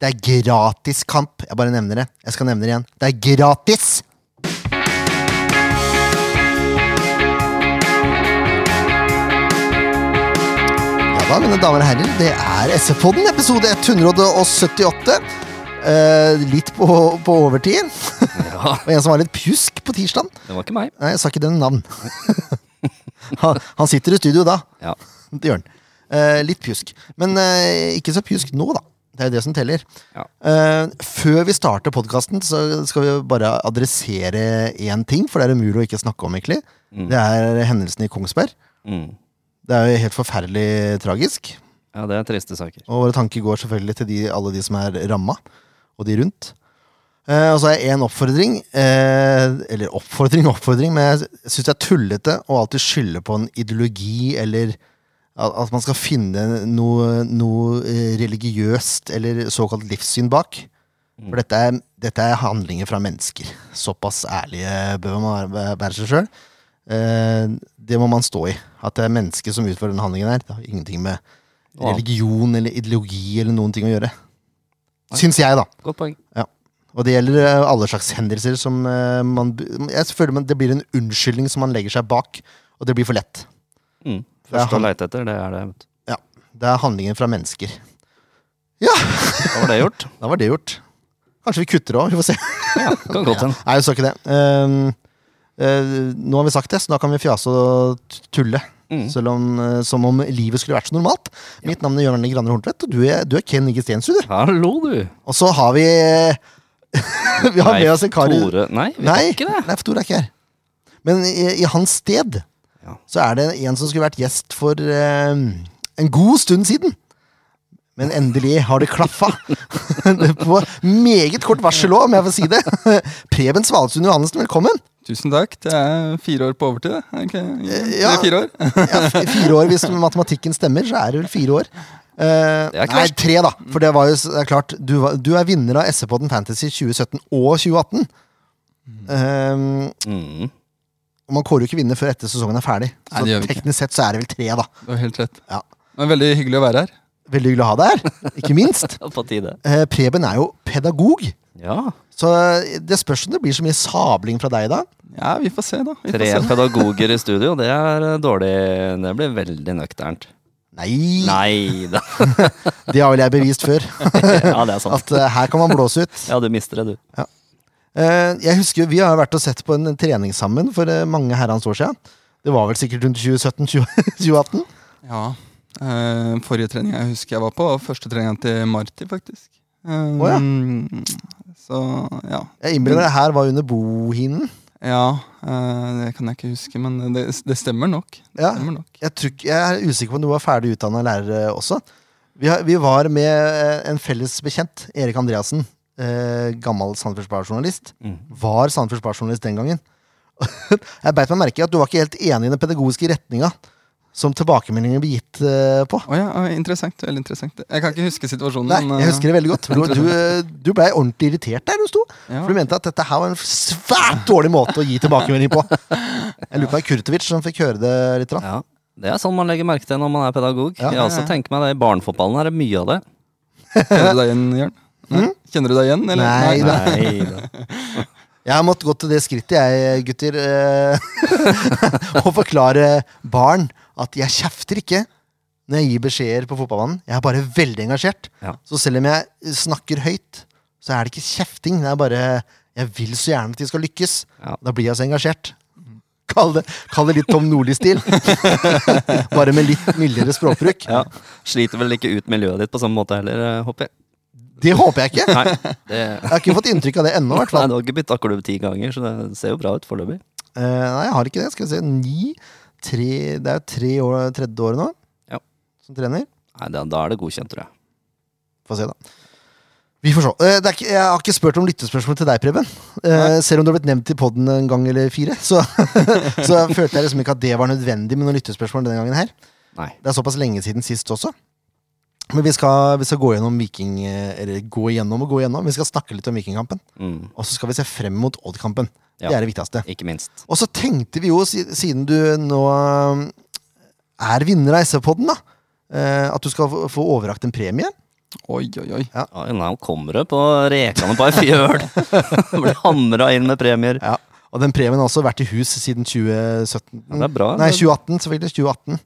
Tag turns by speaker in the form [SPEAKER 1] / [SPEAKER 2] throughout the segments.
[SPEAKER 1] Det er gratis kamp. Jeg bare nevner det. Jeg skal nevne det igjen. Det er gratis! Ja da, mine damer og herrer, det er SF-podden, episode 178. Eh, litt på, på overtid.
[SPEAKER 2] Ja,
[SPEAKER 1] Og en som var litt pjusk på tirsdag.
[SPEAKER 2] det var ikke meg.
[SPEAKER 1] Nei, jeg sa ikke den navn. han, han sitter i studio da.
[SPEAKER 2] Ja.
[SPEAKER 1] Det gjør han. Eh, litt pjusk. Men eh, ikke så pjusk nå, da. Det er jo det som teller.
[SPEAKER 2] Ja.
[SPEAKER 1] Eh, før vi starter podkasten, så skal vi jo bare adressere én ting, for det er umulig å ikke snakke om, egentlig. Det er hendelsen i Kongsberg.
[SPEAKER 2] Mm.
[SPEAKER 1] Det er jo helt forferdelig tragisk.
[SPEAKER 2] ja, det er triste saker.
[SPEAKER 1] Og våre tanker går selvfølgelig til de, alle de som er ramma, og de rundt. Eh, og så har jeg én oppfordring, eh, eller oppfordring, oppfordring, men jeg syns det er tullete å alltid skylde på en ideologi eller at, at man skal finne noe, noe eh, religiøst eller såkalt livssyn bak. For dette er, dette er handlinger fra mennesker. Såpass ærlige bør man være- være seg sjøl. Eh, det må man stå i. At det er mennesker som utfører den handlingen her. Det har ingenting med
[SPEAKER 2] Ja.
[SPEAKER 1] religion eller ideologi eller noen ting å gjøre. Syns jeg, da.
[SPEAKER 2] Godt poeng.
[SPEAKER 1] Ja. Og det gjelder eh, alle slags hendelser som eh, man Jeg føler man, det blir en unnskyldning som man legger seg bak, og det blir for lett.
[SPEAKER 2] Mm.
[SPEAKER 1] Det er
[SPEAKER 2] Første
[SPEAKER 1] han-
[SPEAKER 2] å leite etter, det er det. vet du.
[SPEAKER 1] Ja. Det er handlingen fra mennesker. Ja!
[SPEAKER 2] Da var det gjort.
[SPEAKER 1] Da var det gjort. Kanskje vi kutter òg, vi får se.
[SPEAKER 2] Ja, kan godt hende.
[SPEAKER 1] Nei, vi sa ikke det. Ehm, eh, nå har vi sagt det, så da kan vi fjase og t- tulle. Selv om, eh, som om livet skulle vært så normalt. Mitt navn er Jørn Granner Horntvedt, og du er, du er Ken Inge Stensrud. du.
[SPEAKER 2] Hallo, du.
[SPEAKER 1] Og så har vi eh, Vi har med oss en kar i-
[SPEAKER 2] Tore Nei, vi
[SPEAKER 1] Nei,
[SPEAKER 2] kan ikke det.
[SPEAKER 1] nei, for Tore er ikke her. Men i, i hans sted
[SPEAKER 2] Ja.
[SPEAKER 1] så er det en som skulle vært gjest for eh, en god stund siden. Men endelig har det klaffa. På meget kort varsel òg, om jeg får si det. Preben Svalesund Johannessen, velkommen.
[SPEAKER 3] Tusen takk. Det er fire år på overtid, det. Er det ikke-
[SPEAKER 1] Eh, ja.
[SPEAKER 3] Tre-fire år.
[SPEAKER 1] Ja, f- fire år, Hvis matematikken stemmer, så er det vel fire år. Eh,
[SPEAKER 2] Det
[SPEAKER 1] nei,
[SPEAKER 2] er klart.
[SPEAKER 1] tre, da. For det var jo s- det er klart, du, var, du er vinner av SE-podden Fantasy 2017 og 2018. Eh,
[SPEAKER 2] Mm.
[SPEAKER 1] Og man kårer jo ikke vinner før etter sesongen er ferdig. Så
[SPEAKER 3] Nei, det gjør vi ikke.
[SPEAKER 1] teknisk sett så er det vel tre, da.
[SPEAKER 3] Du har helt rett.
[SPEAKER 1] Ja.
[SPEAKER 3] Men veldig hyggelig å være her.
[SPEAKER 1] Veldig hyggelig å ha deg her, ikke minst.
[SPEAKER 2] Ja, På tide.
[SPEAKER 1] Eh, Preben er jo pedagog,
[SPEAKER 2] Ja.
[SPEAKER 1] så eh, det spørs om det blir så mye sabling fra deg i dag.
[SPEAKER 3] Ja, vi får se, da. Vi får
[SPEAKER 2] Tre
[SPEAKER 3] se, da.
[SPEAKER 2] pedagoger i studio, det er eh, dårlig. Det blir veldig nøkternt.
[SPEAKER 1] Nei,
[SPEAKER 2] Nei da.
[SPEAKER 1] det har vel jeg bevist før.
[SPEAKER 2] Ja, det er sant.
[SPEAKER 1] At eh, her kan man blåse ut.
[SPEAKER 2] Ja, du mister det, du.
[SPEAKER 1] Eh, jeg husker jo, Vi har jo vært og sett på en trening sammen for eh, mange herrens år siden. Det var vel sikkert rundt 2017-2018.
[SPEAKER 3] Ja. Eh, forrige trening jeg husker jeg var på, var første treninga til Marti, faktisk. Um,
[SPEAKER 1] Å, ja.
[SPEAKER 3] Så ja.
[SPEAKER 1] Jeg
[SPEAKER 3] Mm.
[SPEAKER 1] innbiller meg det her var under bohinen.
[SPEAKER 3] Ja, eh, det kan jeg ikke huske, men det, det stemmer nok. Det
[SPEAKER 1] Ja.
[SPEAKER 3] stemmer nok.
[SPEAKER 1] jeg, tror, ikke- jeg er usikker på om du var ferdig utdanna lærer eh, også. Vi, har, vi var med eh, en felles bekjent, Erik Andreassen, eh, gammel Sandefjords Blad-journalist.
[SPEAKER 3] Mm.
[SPEAKER 1] Var Sandefjords Blad-journalist den gangen. jeg beit meg merke i at du var ikke helt enig i den pedagogiske retninga som tilbakemeldingen ble gitt eh, på.
[SPEAKER 3] Å ja, å, interessant. Veldig interessant. Jeg kan ikke huske situasjonen.
[SPEAKER 1] Nei,
[SPEAKER 3] men, eh,
[SPEAKER 1] jeg husker det veldig godt. Du, du, eh, du blei ordentlig irritert der du sto.
[SPEAKER 3] Ja.
[SPEAKER 1] For du mente at dette her var en svært dårlig måte å gi tilbakemelding på. Jeg lurer på om det var Kurtovic som fikk høre det litt. grann.
[SPEAKER 2] Ja. Det er sånn man legger merke til når man er pedagog.
[SPEAKER 1] Ja.
[SPEAKER 2] Jeg også tenker meg det, I barnefotballen er det mye av det.
[SPEAKER 3] eh, Kjenner du deg igjen, Jørn? Nei? Kjenner du deg igjen, eller?
[SPEAKER 1] Mm. Nei, da.
[SPEAKER 2] Nei da.
[SPEAKER 1] Jeg har måttet gå til det skrittet, jeg, gutter, eh, å forklare barn at jeg kjefter ikke når jeg gir beskjeder på fotballbanen. Jeg er bare veldig engasjert.
[SPEAKER 2] Ja.
[SPEAKER 1] Så selv om jeg snakker høyt, så er det ikke kjefting. Det er bare Jeg vil så gjerne at de skal lykkes.
[SPEAKER 2] Ja.
[SPEAKER 1] Da blir jeg så engasjert. Kall det, kall det litt Tom Nordli-stil. bare med litt mildere språkbruk.
[SPEAKER 2] Ja. Sliter vel ikke ut miljøet ditt på samme måte heller, eh, håper jeg.
[SPEAKER 1] Det håper jeg ikke.
[SPEAKER 2] Nei, det,
[SPEAKER 1] Jeg har ikke fått inntrykk av det ennå, i hvert
[SPEAKER 2] nei,
[SPEAKER 1] fall.
[SPEAKER 2] du har ikke bytta klubb ti ganger, så det ser jo bra ut foreløpig.
[SPEAKER 1] Eh, nei, jeg har ikke det. Skal vi se. Ni tre, Det er jo tre år, tredje året nå
[SPEAKER 2] Ja.
[SPEAKER 1] som trener.
[SPEAKER 2] Nei, da, da er det godkjent, tror jeg.
[SPEAKER 1] Få se, da. Vi får se. Eh, det er ikke, jeg har ikke spurt om lyttespørsmål til deg, Preben. Eh, selv om du har blitt nevnt i poden en gang eller fire, så, så følte jeg liksom ikke at det var nødvendig med noen lyttespørsmål denne gangen her.
[SPEAKER 2] Nei.
[SPEAKER 1] Det er såpass lenge siden sist også. Men vi skal, vi skal gå gjennom viking... eh, Eller gå igjennom og gå igjennom. Vi skal snakke litt om vikingkampen.
[SPEAKER 2] Mm,
[SPEAKER 1] Og så skal vi se frem mot Odd-kampen.
[SPEAKER 2] Ja.
[SPEAKER 1] Det er det viktigste.
[SPEAKER 2] ikke minst.
[SPEAKER 1] Og så tenkte vi jo, si- siden du nå eh, er vinner av SV-podden, da, eh, at du skal få- få overrakt en premie.
[SPEAKER 3] Oi, oi, oi.
[SPEAKER 2] Ja, nei, han kommer opp på rekene på ei fjøl! Blir hamra inn med premier.
[SPEAKER 1] Ja. Og den premien har også vært i hus siden 2017.
[SPEAKER 2] Ja, det er bra.
[SPEAKER 1] Nei, 2018, selvfølgelig. 2018.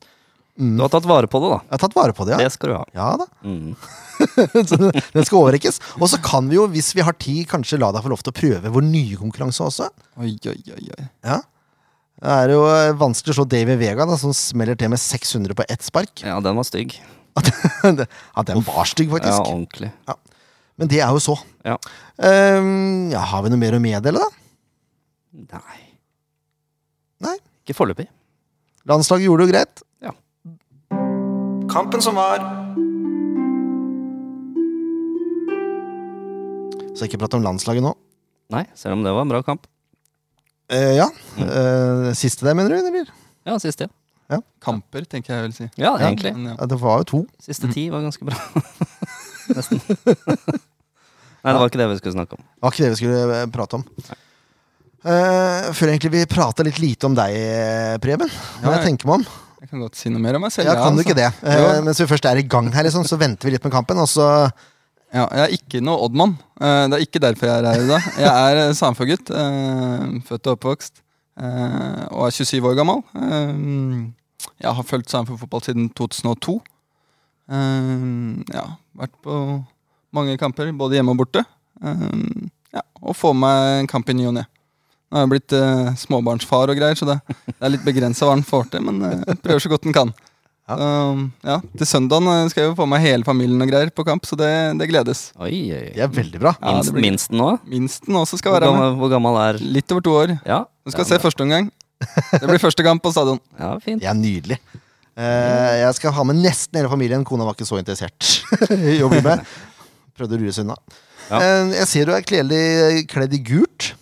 [SPEAKER 2] Du har tatt vare på det, da.
[SPEAKER 1] Jeg har tatt vare på det, ja.
[SPEAKER 2] Det skal du ha.
[SPEAKER 1] Ja da.
[SPEAKER 2] Mm.
[SPEAKER 1] Så den den skal overrekkes. Og så kan vi jo, hvis vi har tid, kanskje la deg få lov til å prøve vår nye konkurranse også.
[SPEAKER 3] Oi, oi, oi, oi.
[SPEAKER 1] Ja. Det er jo eh, vanskelig å slå David Vega, da, som smeller til med 600 på ett spark.
[SPEAKER 2] Ja, den var stygg.
[SPEAKER 1] ja, den var stygg,
[SPEAKER 2] Ja,
[SPEAKER 1] faktisk.
[SPEAKER 2] ordentlig.
[SPEAKER 1] Men det er jo så.
[SPEAKER 2] Ja.
[SPEAKER 1] Ehm, ja, har vi noe mer å meddele, da?
[SPEAKER 2] Nei.
[SPEAKER 1] Nei.
[SPEAKER 2] Ikke foreløpig.
[SPEAKER 1] Landslaget gjorde det jo greit.
[SPEAKER 2] Ja.
[SPEAKER 1] Kampen som var. Så ikke prate om landslaget nå.
[SPEAKER 2] Nei, selv om det var en bra kamp.
[SPEAKER 1] Eh, ja. Eh, siste der, mener du? Eller?
[SPEAKER 2] Ja, siste.
[SPEAKER 3] Kamper, tenker jeg jeg vil si.
[SPEAKER 2] Ja, egentlig.
[SPEAKER 3] Men, ja.
[SPEAKER 1] Ja, det var jo to.
[SPEAKER 2] Siste ti var ganske bra. Nesten. Nei, det var ikke det vi skulle snakke om.
[SPEAKER 1] Det var ikke det vi skulle eh, prate om. Uh, før egentlig vi prata litt lite om deg, eh, Preben. Når
[SPEAKER 3] Ja,
[SPEAKER 1] jeg tenker meg om.
[SPEAKER 3] Jeg kan godt si noe mer om meg selv.
[SPEAKER 1] Ja, kan du
[SPEAKER 3] altså.
[SPEAKER 1] ikke det? Eh,
[SPEAKER 3] Jo.
[SPEAKER 1] mens vi først er i gang her, liksom, så venter vi litt med kampen, og så
[SPEAKER 3] Ja, jeg er ikke noe oddmann. Eh, Det er ikke derfor jeg er her i dag. Jeg er eh, samfunnsgutt. eh, Født og oppvokst. eh, Og er 27 år gammel. Eh, Jeg har fulgt samfunnsfotball siden 2002. Eh, Ja, vært på mange kamper, både hjemme og borte. Eh, Ja, og får meg en kamp i ny og ne. Nå har jeg blitt eh, småbarnsfar og greier, så det, det er litt begrensa hva han får til, men eh, prøver så godt han kan.
[SPEAKER 1] Ja.
[SPEAKER 3] Så, ja, til søndagen eh, skal jeg jo få med hele familien og greier på kamp, så det, det gledes.
[SPEAKER 2] Oi, oi,
[SPEAKER 1] Det
[SPEAKER 2] oi.
[SPEAKER 1] er veldig bra.
[SPEAKER 3] Ja,
[SPEAKER 2] Minst,
[SPEAKER 3] det blir-
[SPEAKER 2] minsten nå?
[SPEAKER 3] Minsten også skal
[SPEAKER 2] Hvor
[SPEAKER 3] være med.
[SPEAKER 2] gammel, hvor gammel er
[SPEAKER 3] Litt over to år.
[SPEAKER 2] Ja,
[SPEAKER 3] Du skal
[SPEAKER 2] ja,
[SPEAKER 3] se første omgang. Det blir første kamp på stadion.
[SPEAKER 2] ja fint.
[SPEAKER 1] Det er nydelig. Eh, jeg skal ha med nesten hele familien. Kona var ikke så interessert i å bli med. Prøvde å lure seg unna.
[SPEAKER 2] Ja.
[SPEAKER 1] Eh, jeg ser du er kledd i, kledd i gult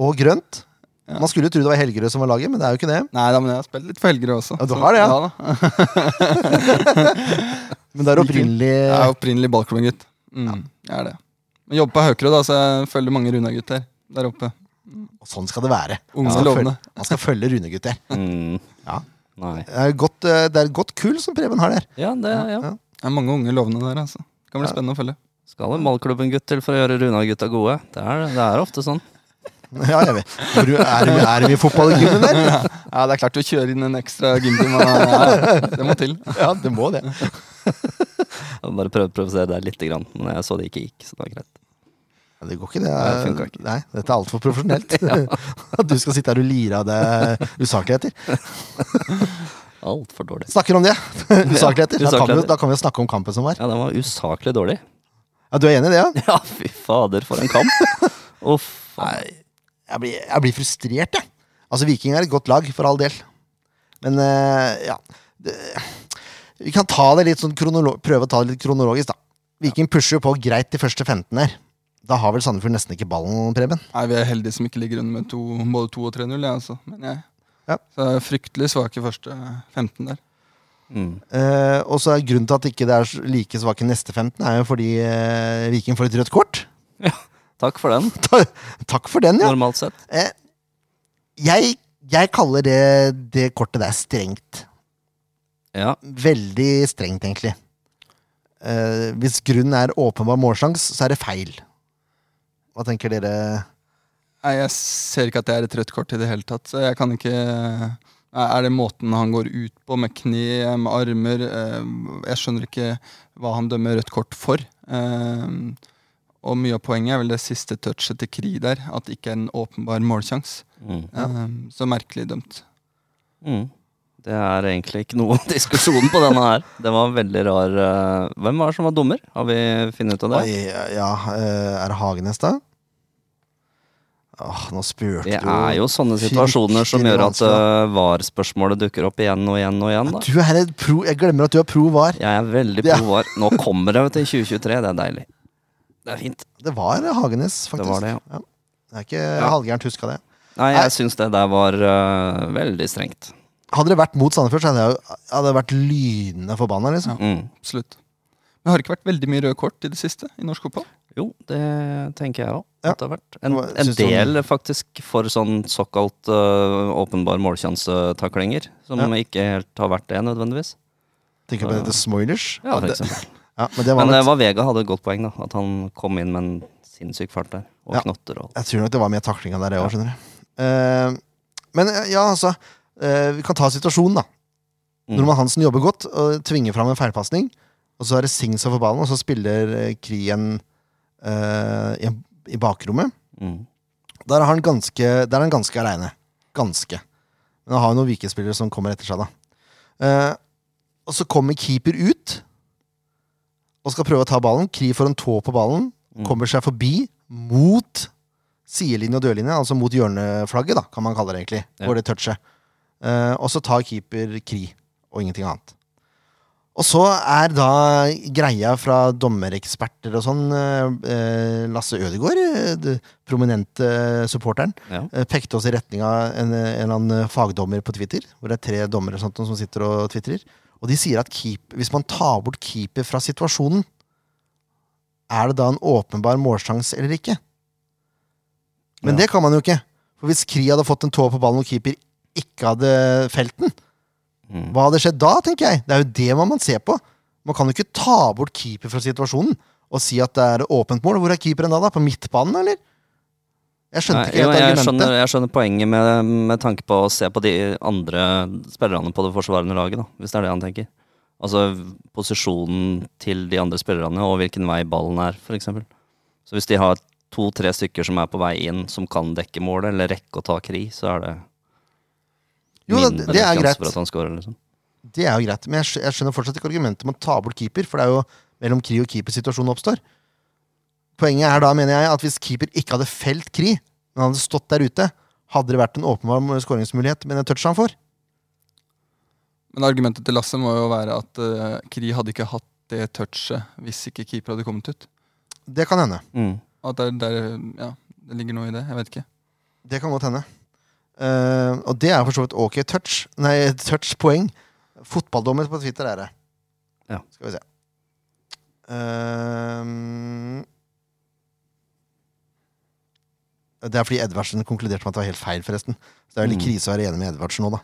[SPEAKER 1] og grønt. Man skulle jo tro det var Helgerød som var laget, men det er jo ikke det.
[SPEAKER 3] Nei da, men jeg har spilt litt for Helgerød også.
[SPEAKER 1] Ja, du
[SPEAKER 3] så-
[SPEAKER 1] har det, ja.
[SPEAKER 3] da.
[SPEAKER 1] Men det er opprinnelig
[SPEAKER 3] Jeg er opprinnelig Balkan-gutt. Mm, jeg er det. Men jobber på Haukerud, da, så jeg følger mange Runa-gutter der oppe.
[SPEAKER 1] Sånn skal det være.
[SPEAKER 3] Unge
[SPEAKER 1] Man skal
[SPEAKER 3] lovende.
[SPEAKER 1] følge- Man skal følge Rune, gutter.
[SPEAKER 2] Mm.
[SPEAKER 1] Ja.
[SPEAKER 2] Nei.
[SPEAKER 1] Det er, godt, eh, det er et godt kull som Preben har der.
[SPEAKER 2] Ja, det ja.
[SPEAKER 1] ja.
[SPEAKER 3] Det er mange unge lovende der, altså. Det kan bli spennende å følge.
[SPEAKER 2] Skal en ballklubben-gutt til for å gjøre Runa-gutta gode. Det er, det er ofte sånn.
[SPEAKER 1] Ja, jeg vet. Hvor du- Er det er det mye fotball i gymmen der?
[SPEAKER 3] Ja, det er klart du kjører inn en ekstra gymtime. Ja, det må til.
[SPEAKER 1] Ja, det må det.
[SPEAKER 2] Jeg bare prøvde å provosere deg litt, grann, men jeg så det ikke gikk. så det var greit.
[SPEAKER 1] Ja, det går ikke, det.
[SPEAKER 2] Nei, det
[SPEAKER 1] Er,
[SPEAKER 2] funker ikke.
[SPEAKER 1] Nei, dette er altfor profesjonelt. At du skal sitte her og lire av deg usakligheter.
[SPEAKER 2] Altfor dårlig.
[SPEAKER 1] Snakker om det. Usakligheter. Da kan, vi, jo-
[SPEAKER 2] usakligheter.
[SPEAKER 1] da kan vi jo snakke om kampen som var.
[SPEAKER 2] Ja, den var usaklig dårlig.
[SPEAKER 1] Ja, Du er enig i det, ja?
[SPEAKER 2] Ja, fy fader, for en kamp! Uff.
[SPEAKER 1] Nei, jeg blir, jeg blir frustrert, jeg. Altså, Viking er et godt lag, for all del. Men eh, ja det, Vi kan ta det litt sånn kronolo prøve å ta det litt kronologisk, da. Viking pusher jo på greit de første 15 her. Da har vel Sandefjord nesten ikke ballen, Preben.
[SPEAKER 3] Nei, Vi er heldige som ikke ligger under med to, både 2 og 3-0. Ja, altså. Men jeg
[SPEAKER 1] Ja.
[SPEAKER 3] så jeg er fryktelig svake første 15 der.
[SPEAKER 2] Mm.
[SPEAKER 1] Eh, og så er grunnen til at ikke det er så- like svake neste 15, er jo fordi eh, Viking får et rødt kort.
[SPEAKER 2] Takk for den,
[SPEAKER 1] Ta, takk for den, ja.
[SPEAKER 2] normalt sett.
[SPEAKER 1] Eh, jeg, jeg kaller det, det kortet der strengt.
[SPEAKER 2] Ja,
[SPEAKER 1] Veldig strengt, egentlig. Eh, hvis grunnen er åpenbar målsjanse, så er det feil. Hva tenker dere?
[SPEAKER 3] Nei, Jeg ser ikke at det er et rødt kort i det hele tatt. Så jeg kan ikke Nei, Er det måten han går ut på, med kne, med armer eh, Jeg skjønner ikke hva han dømmer rødt kort for. Eh, Og mye av poenget er vel det siste touchet til Kri der, at det ikke er en åpenbar målsjanse.
[SPEAKER 2] Mm.
[SPEAKER 3] Eh, Så merkelig dømt.
[SPEAKER 2] Mm. Det er egentlig ikke noe diskusjon på denne her. Det var en veldig rar eh, Hvem var det som var dommer? Har vi funnet ut av det?
[SPEAKER 1] Oi, ja, eh, er det Hagenes, da? Åh, nå spurte
[SPEAKER 2] Det
[SPEAKER 1] du
[SPEAKER 2] er jo sånne situasjoner som
[SPEAKER 1] fryktelig
[SPEAKER 2] gjør at
[SPEAKER 1] vanskelig,
[SPEAKER 2] eh, VAR-spørsmålet dukker opp igjen og igjen og igjen. da.
[SPEAKER 1] Du er et pro Jeg glemmer at du er pro var.
[SPEAKER 2] Jeg er veldig
[SPEAKER 1] Ja.
[SPEAKER 2] på VAR. Nå kommer det vet du, i 2023, det er deilig. Det er fint.
[SPEAKER 1] Det var Hagenes, faktisk.
[SPEAKER 2] Det var det, ja.
[SPEAKER 1] Det er ikke halvgærent huska, det.
[SPEAKER 2] Nei,
[SPEAKER 1] Nei.
[SPEAKER 2] jeg syns det der var eh, veldig strengt.
[SPEAKER 1] Hadde det vært mot Sandefjord, så hadde jeg jo- hadde jeg vært lynende forbanna. Liksom.
[SPEAKER 2] Mm.
[SPEAKER 3] Absolutt. Men har det ikke vært veldig mye røde kort i det siste i norsk fotball?
[SPEAKER 2] Jo, det tenker jeg òg.
[SPEAKER 1] Ja.
[SPEAKER 2] Det har vært en,
[SPEAKER 1] Hva
[SPEAKER 2] en
[SPEAKER 1] syns du om-
[SPEAKER 2] del, faktisk, for sånn såkalt eh, åpenbar målsjansetaklinger. Som
[SPEAKER 1] Ja.
[SPEAKER 2] ikke helt har vært det, nødvendigvis.
[SPEAKER 1] Tenker på dette Smoilers.
[SPEAKER 2] Ja, for
[SPEAKER 1] det,
[SPEAKER 2] eksempel.
[SPEAKER 1] Ja, men det var
[SPEAKER 2] Men
[SPEAKER 1] nok,
[SPEAKER 2] det var Vega hadde et godt poeng, da. At han kom inn med en sinnssyk fart der. Og
[SPEAKER 1] Ja.
[SPEAKER 2] knotter og alt.
[SPEAKER 1] Jeg tror nok det var mye taklinga der, jeg òg, skjønner du. Eh, men eh, ja, altså. eh, vi kan ta situasjonen, da.
[SPEAKER 2] Mm.
[SPEAKER 1] Norman Hansen jobber godt og tvinger fram en feilpasning. Og så er det Sings over ballen, og så spiller eh, Krien eh, i, i bakrommet.
[SPEAKER 2] Mm.
[SPEAKER 1] Der er han ganske, der er han ganske aleine. Ganske. Men han har jo noen vikespillere som kommer etter seg, da. Eh, og så kommer keeper ut og skal prøve å ta ballen. Kri får en tå på ballen,
[SPEAKER 2] Mm.
[SPEAKER 1] kommer seg forbi mot sidelinje og dørlinje, altså mot hjørneflagget, da, kan man kalle det egentlig.
[SPEAKER 2] Ja.
[SPEAKER 1] Hvor det toucher. Eh, og så tar keeper Kri, og ingenting annet. Og så er da greia fra dommereksperter og sånn eh, eh, Lasse Ødegaard, eh, det prominente supporteren,
[SPEAKER 2] Ja.
[SPEAKER 1] eh, pekte oss i retning av en, en eller annen fagdommer på Twitter, hvor det er tre dommere og sånt som sitter og twitrer. Og de sier at keep, hvis man tar bort keeper fra situasjonen, er det da en åpenbar målsjanse eller ikke? Men
[SPEAKER 2] Ja.
[SPEAKER 1] det kan man jo ikke. For hvis Kri hadde fått en tå på ballen og keeper ikke hadde felt den,
[SPEAKER 2] Mm.
[SPEAKER 1] hva hadde skjedd da, tenker jeg? Det er jo det man må se på. Man kan jo ikke ta bort keeper fra situasjonen og si at det er åpent mål. Hvor er keeperen da? da? På midtbanen, eller? Jeg skjønte
[SPEAKER 2] Nei,
[SPEAKER 1] ikke
[SPEAKER 2] jo,
[SPEAKER 1] helt
[SPEAKER 2] jeg,
[SPEAKER 1] argumentet.
[SPEAKER 2] skjønner, jeg skjønner poenget med, med tanke på å se på de andre spillerne på det forsvarende laget, da, hvis det er det han tenker. Altså posisjonen til de andre spillerne og hvilken vei ballen er, f.eks. Så hvis de har to-tre stykker som er på vei inn, som kan dekke målet, eller rekke å ta kri, så er det
[SPEAKER 1] Jo, da,
[SPEAKER 2] mindre
[SPEAKER 1] det er
[SPEAKER 2] sjanse
[SPEAKER 1] greit.
[SPEAKER 2] for at han scorer, liksom.
[SPEAKER 1] Det er jo greit, men jeg, skj- jeg skjønner fortsatt ikke argumentet om å ta bort keeper, for det er jo mellom Kri og keeper situasjonen oppstår. Poenget er da, mener jeg, at hvis keeper ikke hadde felt Kri, men han hadde stått der ute, hadde det vært en åpenbar skåringsmulighet med den touchen han får.
[SPEAKER 3] Men argumentet til Lasse må jo være at eh, Kri hadde ikke hatt det touchet hvis ikke keeper hadde kommet ut.
[SPEAKER 1] Det kan hende.
[SPEAKER 2] Mm.
[SPEAKER 3] At der, der, ja, det ligger noe i det. Jeg vet ikke.
[SPEAKER 1] Det kan godt hende. Eh, og det er for så vidt ok touch. Nei, touch-poeng. Fotballdommer på Twitter er det.
[SPEAKER 2] Ja.
[SPEAKER 1] Skal vi se. Eh, det er fordi Edvardsen konkluderte med at det var helt feil, forresten. Så det er jo litt
[SPEAKER 2] Mm.
[SPEAKER 1] krise å være enig med Edvardsen nå, da.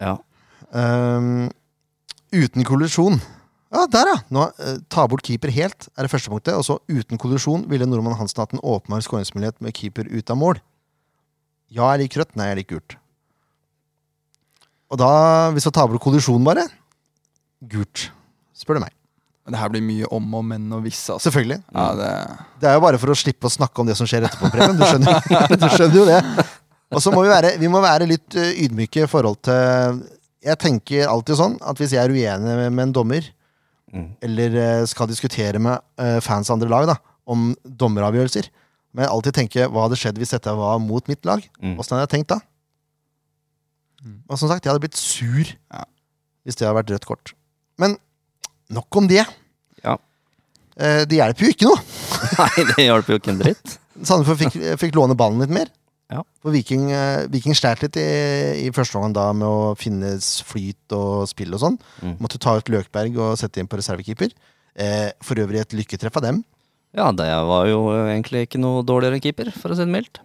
[SPEAKER 2] Ja.
[SPEAKER 1] Eh, uten kollisjon. Ja, der, ja! Nå, eh, ta bort keeper helt, er det første punktet. Og så uten kollisjon ville nordmann Hansen hatt en åpenbar skåringsmulighet med keeper ut av mål. Ja, jeg liker rødt. Nei, jeg liker gult. Og da, hvis jeg tar bort kollisjon, bare Gult, spør du meg.
[SPEAKER 3] Men det her blir mye om og men og hvis. Altså.
[SPEAKER 1] Selvfølgelig.
[SPEAKER 3] Ja, det,
[SPEAKER 1] Det er jo bare for å slippe å snakke om det som skjer etterpå, Preben. Du skjønner, du skjønner jo det. Og så må vi være, vi må være litt eh, ydmyke i forhold til Jeg tenker alltid sånn at hvis jeg er uenig med- med en dommer,
[SPEAKER 2] Mm.
[SPEAKER 1] eller eh, skal diskutere med eh, fans av andre lag da, om dommeravgjørelser, men jeg alltid tenker hva hadde skjedd hvis dette var mot mitt lag?
[SPEAKER 2] Mm.
[SPEAKER 1] Åssen hadde jeg tenkt da?
[SPEAKER 3] Mm.
[SPEAKER 1] Og som sagt, jeg hadde blitt sur
[SPEAKER 3] Ja.
[SPEAKER 1] hvis det hadde vært rødt kort. Men nok om det.
[SPEAKER 2] Ja.
[SPEAKER 1] Eh, Det hjelper jo ikke noe.
[SPEAKER 2] Nei, det hjalp jo ikke en dritt.
[SPEAKER 1] Sandefjord fikk, fikk låne ballen litt mer.
[SPEAKER 2] Ja.
[SPEAKER 1] For Viking, eh, Viking sleit litt i, i første omgang da med å finne s- flyt og spill og sånn.
[SPEAKER 2] Mm.
[SPEAKER 1] Måtte ta ut Løkberg og sette inn på reservekeeper. Eh, for øvrig et lykketreff av dem.
[SPEAKER 2] Ja, det var jo egentlig ikke noe dårligere keeper, for å si det mildt.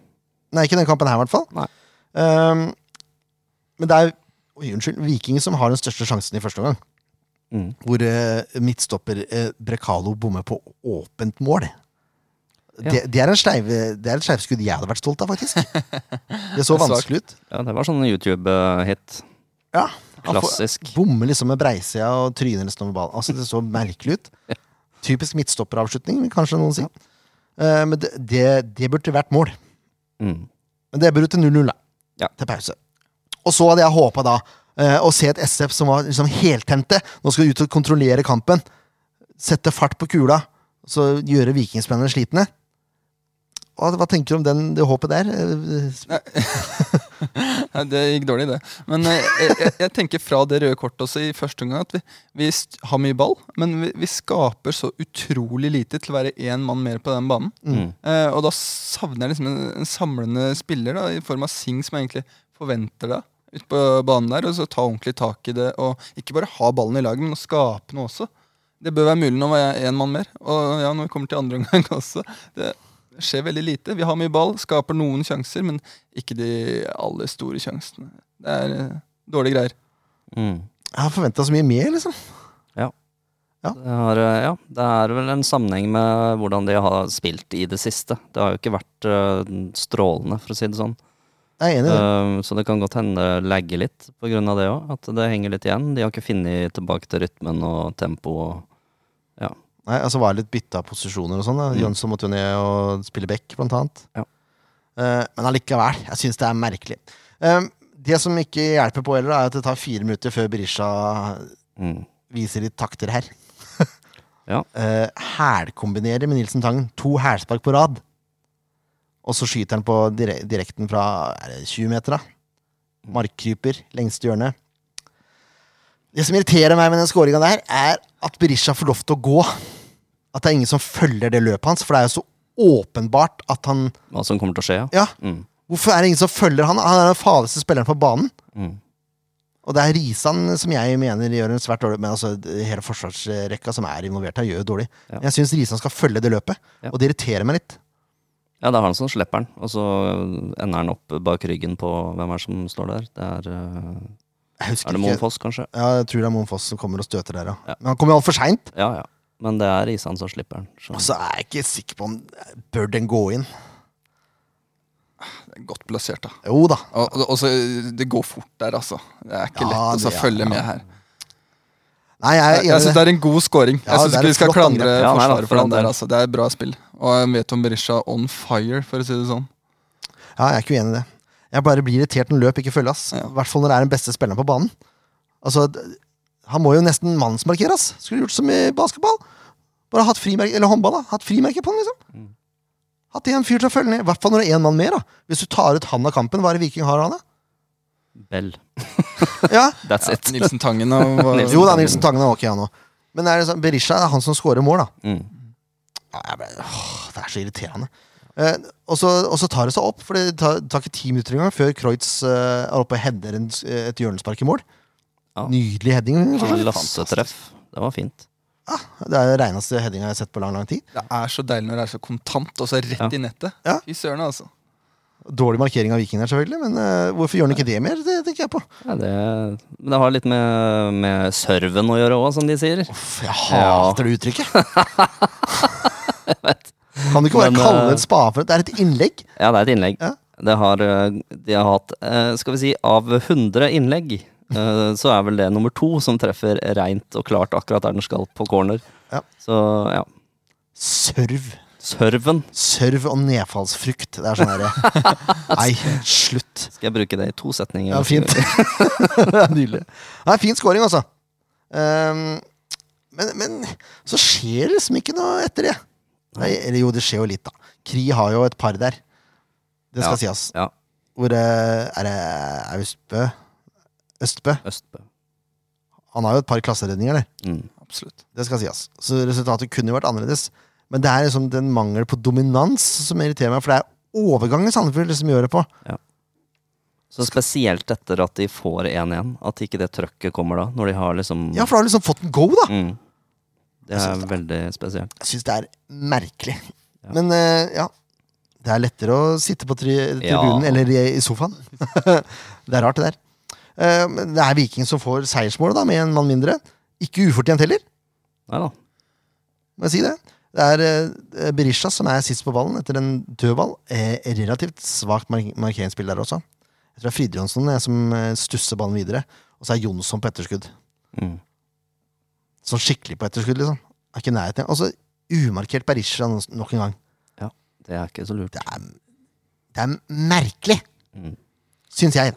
[SPEAKER 1] Nei, ikke den kampen her, i hvert fall.
[SPEAKER 2] Nei.
[SPEAKER 1] Ehm, men det er oi, unnskyld, Viking som har den største sjansen i første omgang.
[SPEAKER 2] Mm.
[SPEAKER 1] Hvor eh, midtstopper eh, Brekalo bommer på åpent mål.
[SPEAKER 2] Ja.
[SPEAKER 1] Det, det er en sleive- det er et sleivskudd jeg hadde vært stolt av, faktisk. Det så
[SPEAKER 3] Det er svakt.
[SPEAKER 1] vanskelig ut.
[SPEAKER 2] Ja, det var sånn YouTube-hit.
[SPEAKER 1] Ja, han får-
[SPEAKER 2] Klassisk.
[SPEAKER 1] Bommer liksom med breisida og tryner nesten over ballen. Altså, det så merkelig ut. Typisk midtstopperavslutning, vil kanskje noen si. Eh, men det, det, det burde vært mål.
[SPEAKER 2] Mm.
[SPEAKER 1] Men det burde til 0-0, da.
[SPEAKER 2] Ja.
[SPEAKER 1] Til pause. Og så hadde jeg håpa da eh, å se et SF som var liksom heltente. Nå skal de ut og kontrollere kampen. Sette fart på kula. Så gjøre vikingspennene slitne. Hva, hva tenker du om den, det håpet der? Eh,
[SPEAKER 3] Nei, det gikk dårlig, det. Men eh, jeg, jeg, jeg tenker fra det røde kortet også i første omgang at vi, vi st- har mye ball, men vi, vi skaper så utrolig lite til å være én mann mer på den banen.
[SPEAKER 2] Mm.
[SPEAKER 3] Eh, og da savner jeg liksom en, en samlende spiller da, i form av Singh, som jeg egentlig forventer da, ute på banen der. Og så ta ordentlig tak i det, og ikke bare ha ballen i laget, men å skape noe også. Det bør være mulig når vi er én mann mer. Og ja, når vi kommer til andre omgang også. Det skjer veldig lite. Vi har mye ball, skaper noen sjanser, men ikke de aller store sjansene. Det er eh, dårlige greier.
[SPEAKER 2] Mm.
[SPEAKER 1] Jeg har forventa så mye mer, liksom.
[SPEAKER 2] Ja.
[SPEAKER 1] Ja.
[SPEAKER 2] Det, har, eh, ja, det er vel en sammenheng med hvordan de har spilt i det siste. Det har jo ikke vært eh, strålende, for å si det sånn.
[SPEAKER 1] Jeg er enig i det.
[SPEAKER 2] Eh, så det kan godt hende det lagger litt på grunn av det òg. At det henger litt igjen. De har ikke funnet tilbake til rytmen og tempo og
[SPEAKER 1] Nei, altså var det litt bytte av posisjoner og sånn. da.
[SPEAKER 2] Mm.
[SPEAKER 1] Jønsson måtte jo ned og spille back, blant annet.
[SPEAKER 2] Ja.
[SPEAKER 1] Eh, men allikevel, jeg syns det er merkelig. Eh, det som ikke hjelper på heller, er at det tar fire minutter før Berisha
[SPEAKER 2] mm.
[SPEAKER 1] viser litt takter her.
[SPEAKER 2] Ja.
[SPEAKER 1] Eh, Hælkombinerer med Nilsen Tangen. To hælspark på rad. Og så skyter han på dire direkten fra er det 20 meter, da. Markkryper, lengste hjørne. Det som irriterer meg med den scoringa der, er at Berisha får lov til å gå. At det er ingen som følger det løpet hans, for det er jo så åpenbart at han
[SPEAKER 2] hva som kommer til å skje. Ja.
[SPEAKER 1] Ja,
[SPEAKER 2] Mm.
[SPEAKER 1] hvorfor er det ingen som følger han? Han er den farligste spilleren på banen.
[SPEAKER 2] Mm.
[SPEAKER 1] Og det er Risan som jeg mener gjør en svært dårlig Men altså, hele forsvarsrekka som er involvert her, gjør jo dårlig.
[SPEAKER 2] Ja.
[SPEAKER 1] Men jeg syns Risan skal følge det løpet,
[SPEAKER 2] Ja.
[SPEAKER 1] og det irriterer meg litt.
[SPEAKER 2] Ja, det er han som slipper den, og så ender han opp bak ryggen på hvem er det som står der. Det er, eh,
[SPEAKER 1] Jeg husker
[SPEAKER 2] er det Moen
[SPEAKER 1] ikke
[SPEAKER 2] Foss, kanskje?
[SPEAKER 1] ja, jeg tror det er Moen Foss som kommer og støter der, ja.
[SPEAKER 2] Ja.
[SPEAKER 1] Men han kommer jo altfor seint.
[SPEAKER 2] Ja, ja. Men det er Isan som slipper den.
[SPEAKER 1] Og
[SPEAKER 2] Så.
[SPEAKER 1] så er jeg ikke sikker på om Bør den gå inn?
[SPEAKER 3] Det er Godt plassert, da.
[SPEAKER 1] Jo da.
[SPEAKER 3] Og, og, og så, det går fort der, altså. Det er ikke
[SPEAKER 1] Ja,
[SPEAKER 3] lett å så
[SPEAKER 1] det er-
[SPEAKER 3] følge med her.
[SPEAKER 1] Nei, jeg
[SPEAKER 3] Jeg,
[SPEAKER 1] er
[SPEAKER 3] jeg
[SPEAKER 1] enig i
[SPEAKER 3] syns
[SPEAKER 1] det.
[SPEAKER 3] det er en god scoring.
[SPEAKER 1] Ja,
[SPEAKER 3] jeg syns
[SPEAKER 1] det er
[SPEAKER 3] ikke
[SPEAKER 1] et
[SPEAKER 3] vi skal
[SPEAKER 1] flott
[SPEAKER 3] klandre
[SPEAKER 1] angrep.
[SPEAKER 2] Ja, nei, da,
[SPEAKER 3] forsvaret
[SPEAKER 2] for
[SPEAKER 3] for den
[SPEAKER 2] all del.
[SPEAKER 3] der. Altså. Det er bra spill. Og jeg vet om Berisha on fire, for å si det sånn.
[SPEAKER 1] Ja, jeg er ikke uenig i det. Jeg bare blir irritert når løp ikke følges. I
[SPEAKER 3] Ja.
[SPEAKER 1] hvert fall når det er den beste spilleren på banen. Altså, d- han må jo nesten mannsmarkeres. Skulle gjort som i basketball. Bare hatt frimerke, eller håndball, da. Hatt frimerke på han, liksom.
[SPEAKER 2] Mm.
[SPEAKER 1] Hatt en fyr til å følge ned. I hvert fall når det er én mann mer, da. Hvis du tar ut han av kampen, hva er det Viking har han, da?
[SPEAKER 2] Bell.
[SPEAKER 1] Ja.
[SPEAKER 2] That's it.
[SPEAKER 3] Nilsen Tangen og hva-
[SPEAKER 1] Jo da, Nilsen Tangen er ok, han òg. Men det er liksom, Berisha er han som scorer mål, da.
[SPEAKER 2] Mm.
[SPEAKER 1] Ja, jeg ble, åh, det er så irriterende. Eh, og, så, og så tar det seg opp, for det tar, det tar ikke ti minutter engang før Kreutz eh, er oppe og header en, s- eh, et hjørnespark i mål.
[SPEAKER 2] Ja.
[SPEAKER 1] Nydelig heading. for så vidt.
[SPEAKER 2] Lassetreff. Det var fint.
[SPEAKER 1] Det er den reineste headinga jeg har sett på lang lang tid.
[SPEAKER 3] Det er så deilig når det er så kontant, og så rett
[SPEAKER 2] Ja.
[SPEAKER 3] i nettet.
[SPEAKER 1] Ja.
[SPEAKER 3] Fy søren, altså.
[SPEAKER 1] Dårlig markering av Viking der, selvfølgelig, men eh, hvorfor gjør han ikke det mer? Det tenker jeg på.
[SPEAKER 2] Ja, det, men det har litt med, med serven å gjøre òg, som de sier.
[SPEAKER 1] Uff, jeg hater det uttrykket! kan du ikke bare
[SPEAKER 2] Men, eh,
[SPEAKER 1] kalle en spade for et Det er et innlegg!
[SPEAKER 2] Ja, det er et innlegg.
[SPEAKER 1] Ja.
[SPEAKER 2] Det har, eh, de har hatt eh, Skal vi si, av 100 innlegg, eh, så er vel det nummer to som treffer reint og klart akkurat der den skal, på corner.
[SPEAKER 1] Ja.
[SPEAKER 2] Så ja.
[SPEAKER 1] Serv.
[SPEAKER 2] Serven.
[SPEAKER 1] Serv og nedfallsfrukt. Det er sånn herre Nei, slutt!
[SPEAKER 2] Skal jeg bruke det i to setninger?
[SPEAKER 1] Ja, fint. det er nydelig. Det er fin scoring, altså. Ehm, men, men så skjer det liksom ikke noe etter det. Nei, eller jo, det skjer jo litt, da. Kri har jo et par der. Det skal sies.
[SPEAKER 2] Ja.
[SPEAKER 1] Hvor eh, er det Austbø? Østbø.
[SPEAKER 2] Østbø.
[SPEAKER 1] Han har jo et par klasseredninger der.
[SPEAKER 2] Mm.
[SPEAKER 3] Absolutt.
[SPEAKER 1] Det skal sies. Så resultatet kunne jo vært annerledes. Men det er liksom den mangel på dominans som irriterer meg, for det er overgangen Sandefjord liksom gjør det på.
[SPEAKER 2] Så spesielt etter at de får 1-1, at ikke det trøkket kommer da, når de har liksom
[SPEAKER 1] Ja, for da har du liksom fått en go, da.
[SPEAKER 2] mm. Det
[SPEAKER 1] Jeg
[SPEAKER 2] er
[SPEAKER 1] synes
[SPEAKER 2] veldig spesielt.
[SPEAKER 1] Jeg syns det er merkelig.
[SPEAKER 2] Ja.
[SPEAKER 1] Men eh, ja. Det er lettere å sitte på tri tribunen
[SPEAKER 2] Ja.
[SPEAKER 1] eller i, i sofaen. det er rart, det der. Eh, men det er Viking som får seiersmålet, da, med en mann mindre. Ikke ufortjent heller,
[SPEAKER 2] Nei da.
[SPEAKER 1] må jeg si det. Det er eh, Berisha som er sist på ballen etter en dødball. Eh, relativt svakt mark markeringsspill der også. Jeg tror det er Fride Jonsson eh, som eh, stusser ballen videre. Og så er Jonsson på etterskudd.
[SPEAKER 2] Mm.
[SPEAKER 1] Sånn skikkelig på etterskudd, liksom. Er ikke i nærheten. Og så umarkert Berisha nok en gang.
[SPEAKER 2] Det er ikke så lurt.
[SPEAKER 1] det er, det er merkelig,
[SPEAKER 2] Mm.
[SPEAKER 1] syns jeg.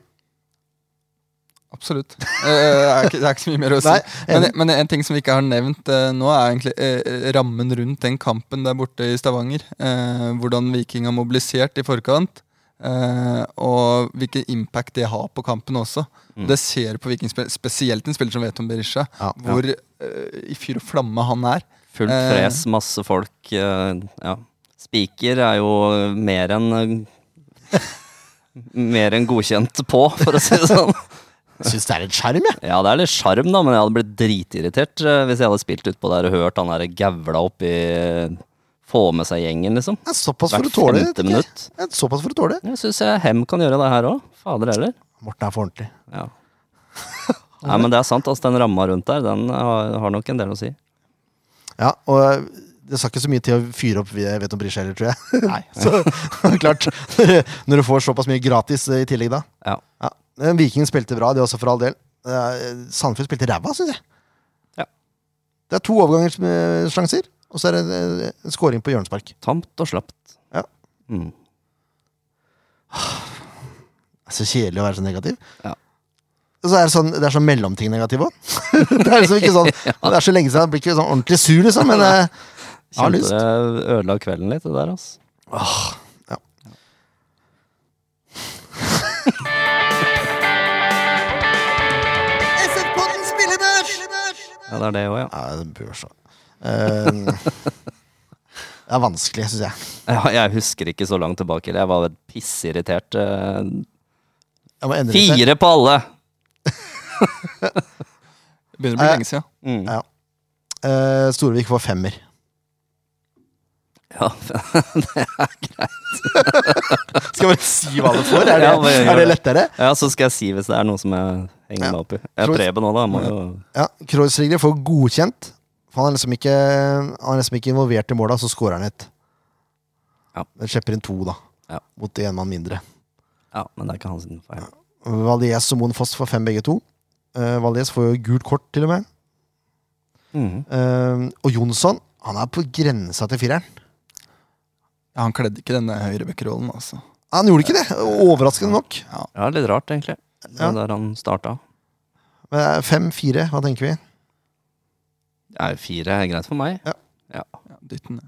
[SPEAKER 3] Absolutt. Eh, det, er ikke, det er ikke så mye mer å si.
[SPEAKER 1] Nei,
[SPEAKER 3] men, men en ting som vi ikke har nevnt eh, nå, er egentlig eh, rammen rundt den kampen der borte i Stavanger. Eh, hvordan Viking har mobilisert i forkant. eh, og hvilken impact det har på kampen også.
[SPEAKER 2] Mm.
[SPEAKER 3] Det ser du på Viking, spe- spesielt en spiller som vet om Berisha.
[SPEAKER 1] Ja.
[SPEAKER 3] Hvor eh, i fyr og flamme han er.
[SPEAKER 2] Fullt
[SPEAKER 3] Eh.
[SPEAKER 2] fres, masse folk. eh, ja. Spiker er jo mer enn eh, Mer enn godkjent på, for å si det sånn.
[SPEAKER 1] Jeg syns det er en skjerm, jeg.
[SPEAKER 2] Ja, det er litt sjarm, da, men jeg hadde blitt dritirritert eh, hvis jeg hadde spilt utpå der og hørt han der gavla oppi eh, Få med seg gjengen, liksom.
[SPEAKER 1] Det er Såpass for
[SPEAKER 2] Hvert
[SPEAKER 1] å tåle det.
[SPEAKER 2] femte
[SPEAKER 1] tenker jeg.
[SPEAKER 2] minutt.
[SPEAKER 1] Det er Såpass for å tåle det.
[SPEAKER 2] Jeg syns Hem kan gjøre det her òg. Fader heller.
[SPEAKER 1] Morten er for ordentlig.
[SPEAKER 2] Ja. Nei, men det er sant. Altså, den ramma rundt der, den har, har nok en del å si.
[SPEAKER 1] Ja, og eh, det skal ikke så mye til å fyre opp Veton Brisje heller, tror jeg.
[SPEAKER 3] Nei.
[SPEAKER 1] Så klart, når du- når du får såpass mye gratis eh, i tillegg, da.
[SPEAKER 2] Ja.
[SPEAKER 1] Eh, Viking spilte bra, det også, for all del. Eh, Sandefjord spilte ræva, syns jeg.
[SPEAKER 2] Ja.
[SPEAKER 1] Det er to overgangssjanser, og så er det eh, en scoring på hjørnespark.
[SPEAKER 2] Tamt og slapt.
[SPEAKER 1] Ja.
[SPEAKER 2] Mm.
[SPEAKER 1] Det er Så kjedelig å være så negativ.
[SPEAKER 2] Ja.
[SPEAKER 1] Og Så er det, sånn, det er sånn mellomting-negativ òg. det er liksom ikke sånn Det er så lenge siden, jeg blir ikke sånn ordentlig sur, liksom. Men eh, jeg har
[SPEAKER 2] Kjente
[SPEAKER 1] lyst.
[SPEAKER 2] det ødela kvelden litt, det der, altså.
[SPEAKER 4] SF-podden spillebørs!
[SPEAKER 2] Ja, det er det òg, ja.
[SPEAKER 1] Ja, det bør så. Eh, det er vanskelig, syns jeg.
[SPEAKER 2] ja. Jeg husker ikke så langt tilbake. eller Jeg var vel pissirritert. eh,
[SPEAKER 1] jeg må endre litt.
[SPEAKER 2] Fire på alle!
[SPEAKER 3] Det begynner å bli lenge siden.
[SPEAKER 2] Mm.
[SPEAKER 1] Ja. Eh, Storvik får femmer.
[SPEAKER 2] Ja,
[SPEAKER 1] Skal jeg bare si hva du får? Er det,
[SPEAKER 2] Ja, bare gjør
[SPEAKER 1] er det
[SPEAKER 2] det.
[SPEAKER 1] lettere?
[SPEAKER 2] ja, så skal jeg si hvis det er noe som jeg henger
[SPEAKER 1] Ja.
[SPEAKER 2] meg opp i. Jeg er
[SPEAKER 1] Tror-
[SPEAKER 2] Preben òg, da. Må jo
[SPEAKER 1] Ja, Kreuzriger får godkjent. For han er liksom ikke, han er liksom ikke involvert i måla, så scorer han et.
[SPEAKER 2] Ja.
[SPEAKER 1] Men slipper inn to, da.
[SPEAKER 2] Ja.
[SPEAKER 1] Mot én mann mindre.
[SPEAKER 2] Ja, men det er ikke hans feil.
[SPEAKER 1] Valies og Moen Foss får fem, begge to. Uh, Valies får jo gult kort, til og med.
[SPEAKER 2] Mm.
[SPEAKER 1] Eh, og Jonsson, han er på grensa til fireren.
[SPEAKER 3] Ja, han kledde ikke denne høyrebekkerollen, altså.
[SPEAKER 1] Han gjorde ikke det, overraskende nok.
[SPEAKER 2] Ja, litt rart, egentlig. Det
[SPEAKER 1] Ja.
[SPEAKER 2] er der han starta.
[SPEAKER 1] Men eh, det er Fem-fire, hva tenker vi?
[SPEAKER 2] Ja, fire er greit for meg.
[SPEAKER 3] Ja, dytten.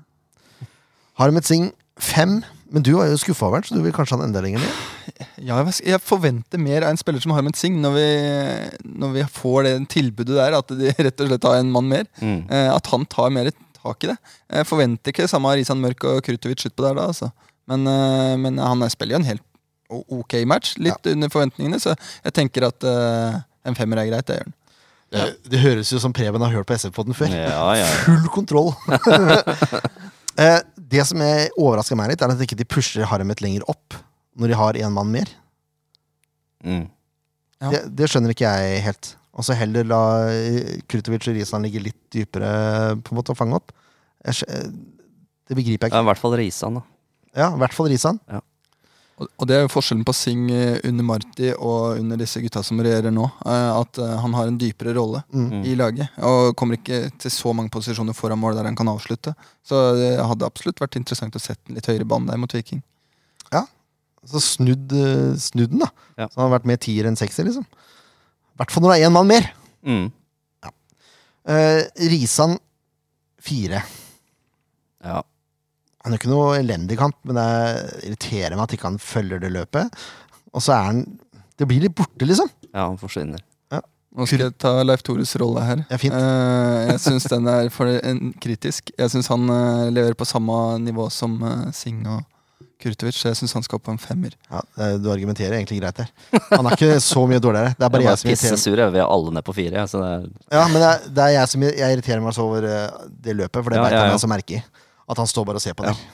[SPEAKER 1] Harmet Singh fem. Men du var jo skuffa over den, så du vil kanskje ha den enda lenger ned?
[SPEAKER 3] Ja, jeg, jeg forventer mer av en spiller som Harmet Singh, når vi, når vi får det tilbudet der, at de rett og slett har en mann mer.
[SPEAKER 2] Mm.
[SPEAKER 3] Eh, at han tar mer tak i det. Jeg forventer ikke det samme av Risan Mørk og Krutovic utpå der, da, altså. Men, eh, men han spiller jo en helt o- ok match, litt under forventningene, så jeg tenker at eh, en femmer er greit, det gjør han.
[SPEAKER 1] Det, det høres jo som Preben har hørt på SF-podden før.
[SPEAKER 2] Ja, ja.
[SPEAKER 1] Full kontroll! Eh, det som jeg overrasker meg litt, er at ikke de pusher Harmet lenger opp når de har én mann mer.
[SPEAKER 2] Mm.
[SPEAKER 3] Ja.
[SPEAKER 1] Det, det skjønner ikke jeg helt. Og så heller la eh, Krutovic og Risan ligge litt dypere på en måte å fange opp. Jeg, skj- eh, det begriper jeg
[SPEAKER 2] Ja,
[SPEAKER 1] ikke.
[SPEAKER 2] I hvert fall Risan, da.
[SPEAKER 1] Ja, I hvert fall Risan.
[SPEAKER 3] Og, og det er jo forskjellen på Singh eh, under Marti og under disse gutta som regjerer nå, eh, at eh, han har en dypere rolle.
[SPEAKER 1] Mm.
[SPEAKER 3] i laget. Og kommer ikke til så mange posisjoner foran mål der han kan avslutte. Så det hadde absolutt vært interessant å sette en litt høyere bane der mot Viking.
[SPEAKER 1] Så snudd, eh, snudd den, da.
[SPEAKER 2] Ja.
[SPEAKER 1] Så han har vært mer tier enn sekser, liksom. I hvert fall når det er én mann mer.
[SPEAKER 2] Mm.
[SPEAKER 1] Eh, Risan fire.
[SPEAKER 2] Ja.
[SPEAKER 1] Han er ikke noe elendig kamp, men det er- irriterer meg at ikke han følger det løpet. Og så er han Det blir litt borte, liksom.
[SPEAKER 2] ja, han forsvinner.
[SPEAKER 3] Nå skal jeg ta Leif Tores rolle her.
[SPEAKER 1] Ja, fint.
[SPEAKER 3] Eh, jeg syns den er for en, kritisk. Jeg syns han eh, leverer på samme nivå som eh, Singh og Kurtovic, så jeg syns han skal opp på en femmer.
[SPEAKER 1] Ja, eh, du argumenterer egentlig greit der. Han er ikke så mye dårligere. Det er bare
[SPEAKER 2] Jeg
[SPEAKER 1] jeg,
[SPEAKER 2] er
[SPEAKER 1] som irriterer meg.
[SPEAKER 2] pissesur. jeg. Vi er alle ned på fire. jeg, Så det er,
[SPEAKER 1] Ja, men det er, det er jeg som jeg irriterer meg så over eh, det løpet, for det
[SPEAKER 2] Ja,
[SPEAKER 1] vet
[SPEAKER 2] ja,
[SPEAKER 1] han
[SPEAKER 2] ja.
[SPEAKER 1] jeg så merke i. At han står bare og ser på
[SPEAKER 2] Ja.
[SPEAKER 1] der.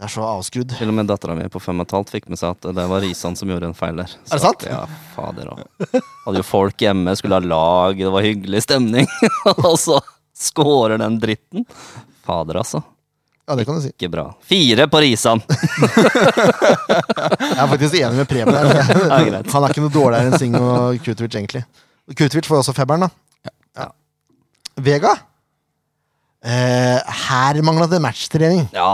[SPEAKER 1] Det er så avskrudd.
[SPEAKER 2] til og med dattera mi på fem og et halvt fikk med seg at det var Risan som gjorde en feil der. Så,
[SPEAKER 1] Er det sant?
[SPEAKER 2] Ja, fader òg. Hadde jo folk hjemme, skulle ha lag, det var hyggelig stemning, og så scorer den dritten. Fader, altså.
[SPEAKER 1] Ja, det kan du si.
[SPEAKER 2] Ikke bra. Fire på Risan!
[SPEAKER 1] Jeg er faktisk enig med Preben. her. Han er ikke noe dårligere enn Singh og Kutovic, egentlig. Kutovic får også femmeren, da. Ja. Vega? Eh, her mangla det matchtrening.
[SPEAKER 2] Ja.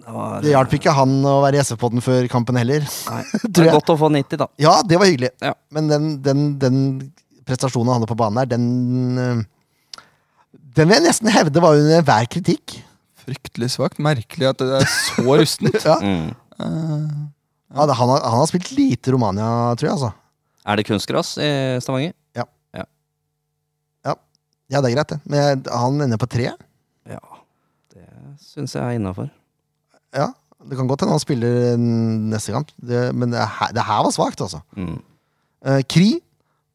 [SPEAKER 2] Det var,
[SPEAKER 1] Det hjalp ikke han å være i SF-podden før kampen heller.
[SPEAKER 2] Nei, det
[SPEAKER 1] tror
[SPEAKER 2] er
[SPEAKER 1] jeg.
[SPEAKER 2] godt å få 90, da.
[SPEAKER 1] Ja, det var hyggelig,
[SPEAKER 2] Ja.
[SPEAKER 1] men den, den, den prestasjonen han hadde på banen her, den eh, Den vil jeg nesten hevde var under hver kritikk.
[SPEAKER 3] Fryktelig svakt. Merkelig at det er så rustent.
[SPEAKER 1] Ja.
[SPEAKER 2] Mm.
[SPEAKER 3] Eh,
[SPEAKER 1] Ja, det, han, har, han har spilt lite Romania, tror jeg, altså.
[SPEAKER 2] Er det kunstgras i Stavanger?
[SPEAKER 1] Ja, det er greit, det. Men jeg, han ender på tre.
[SPEAKER 2] Ja. Det syns jeg er innafor.
[SPEAKER 1] Ja, det kan godt hende han spiller neste kamp, det, men det her, det her var svakt, altså.
[SPEAKER 2] Mm.
[SPEAKER 1] Eh, Kri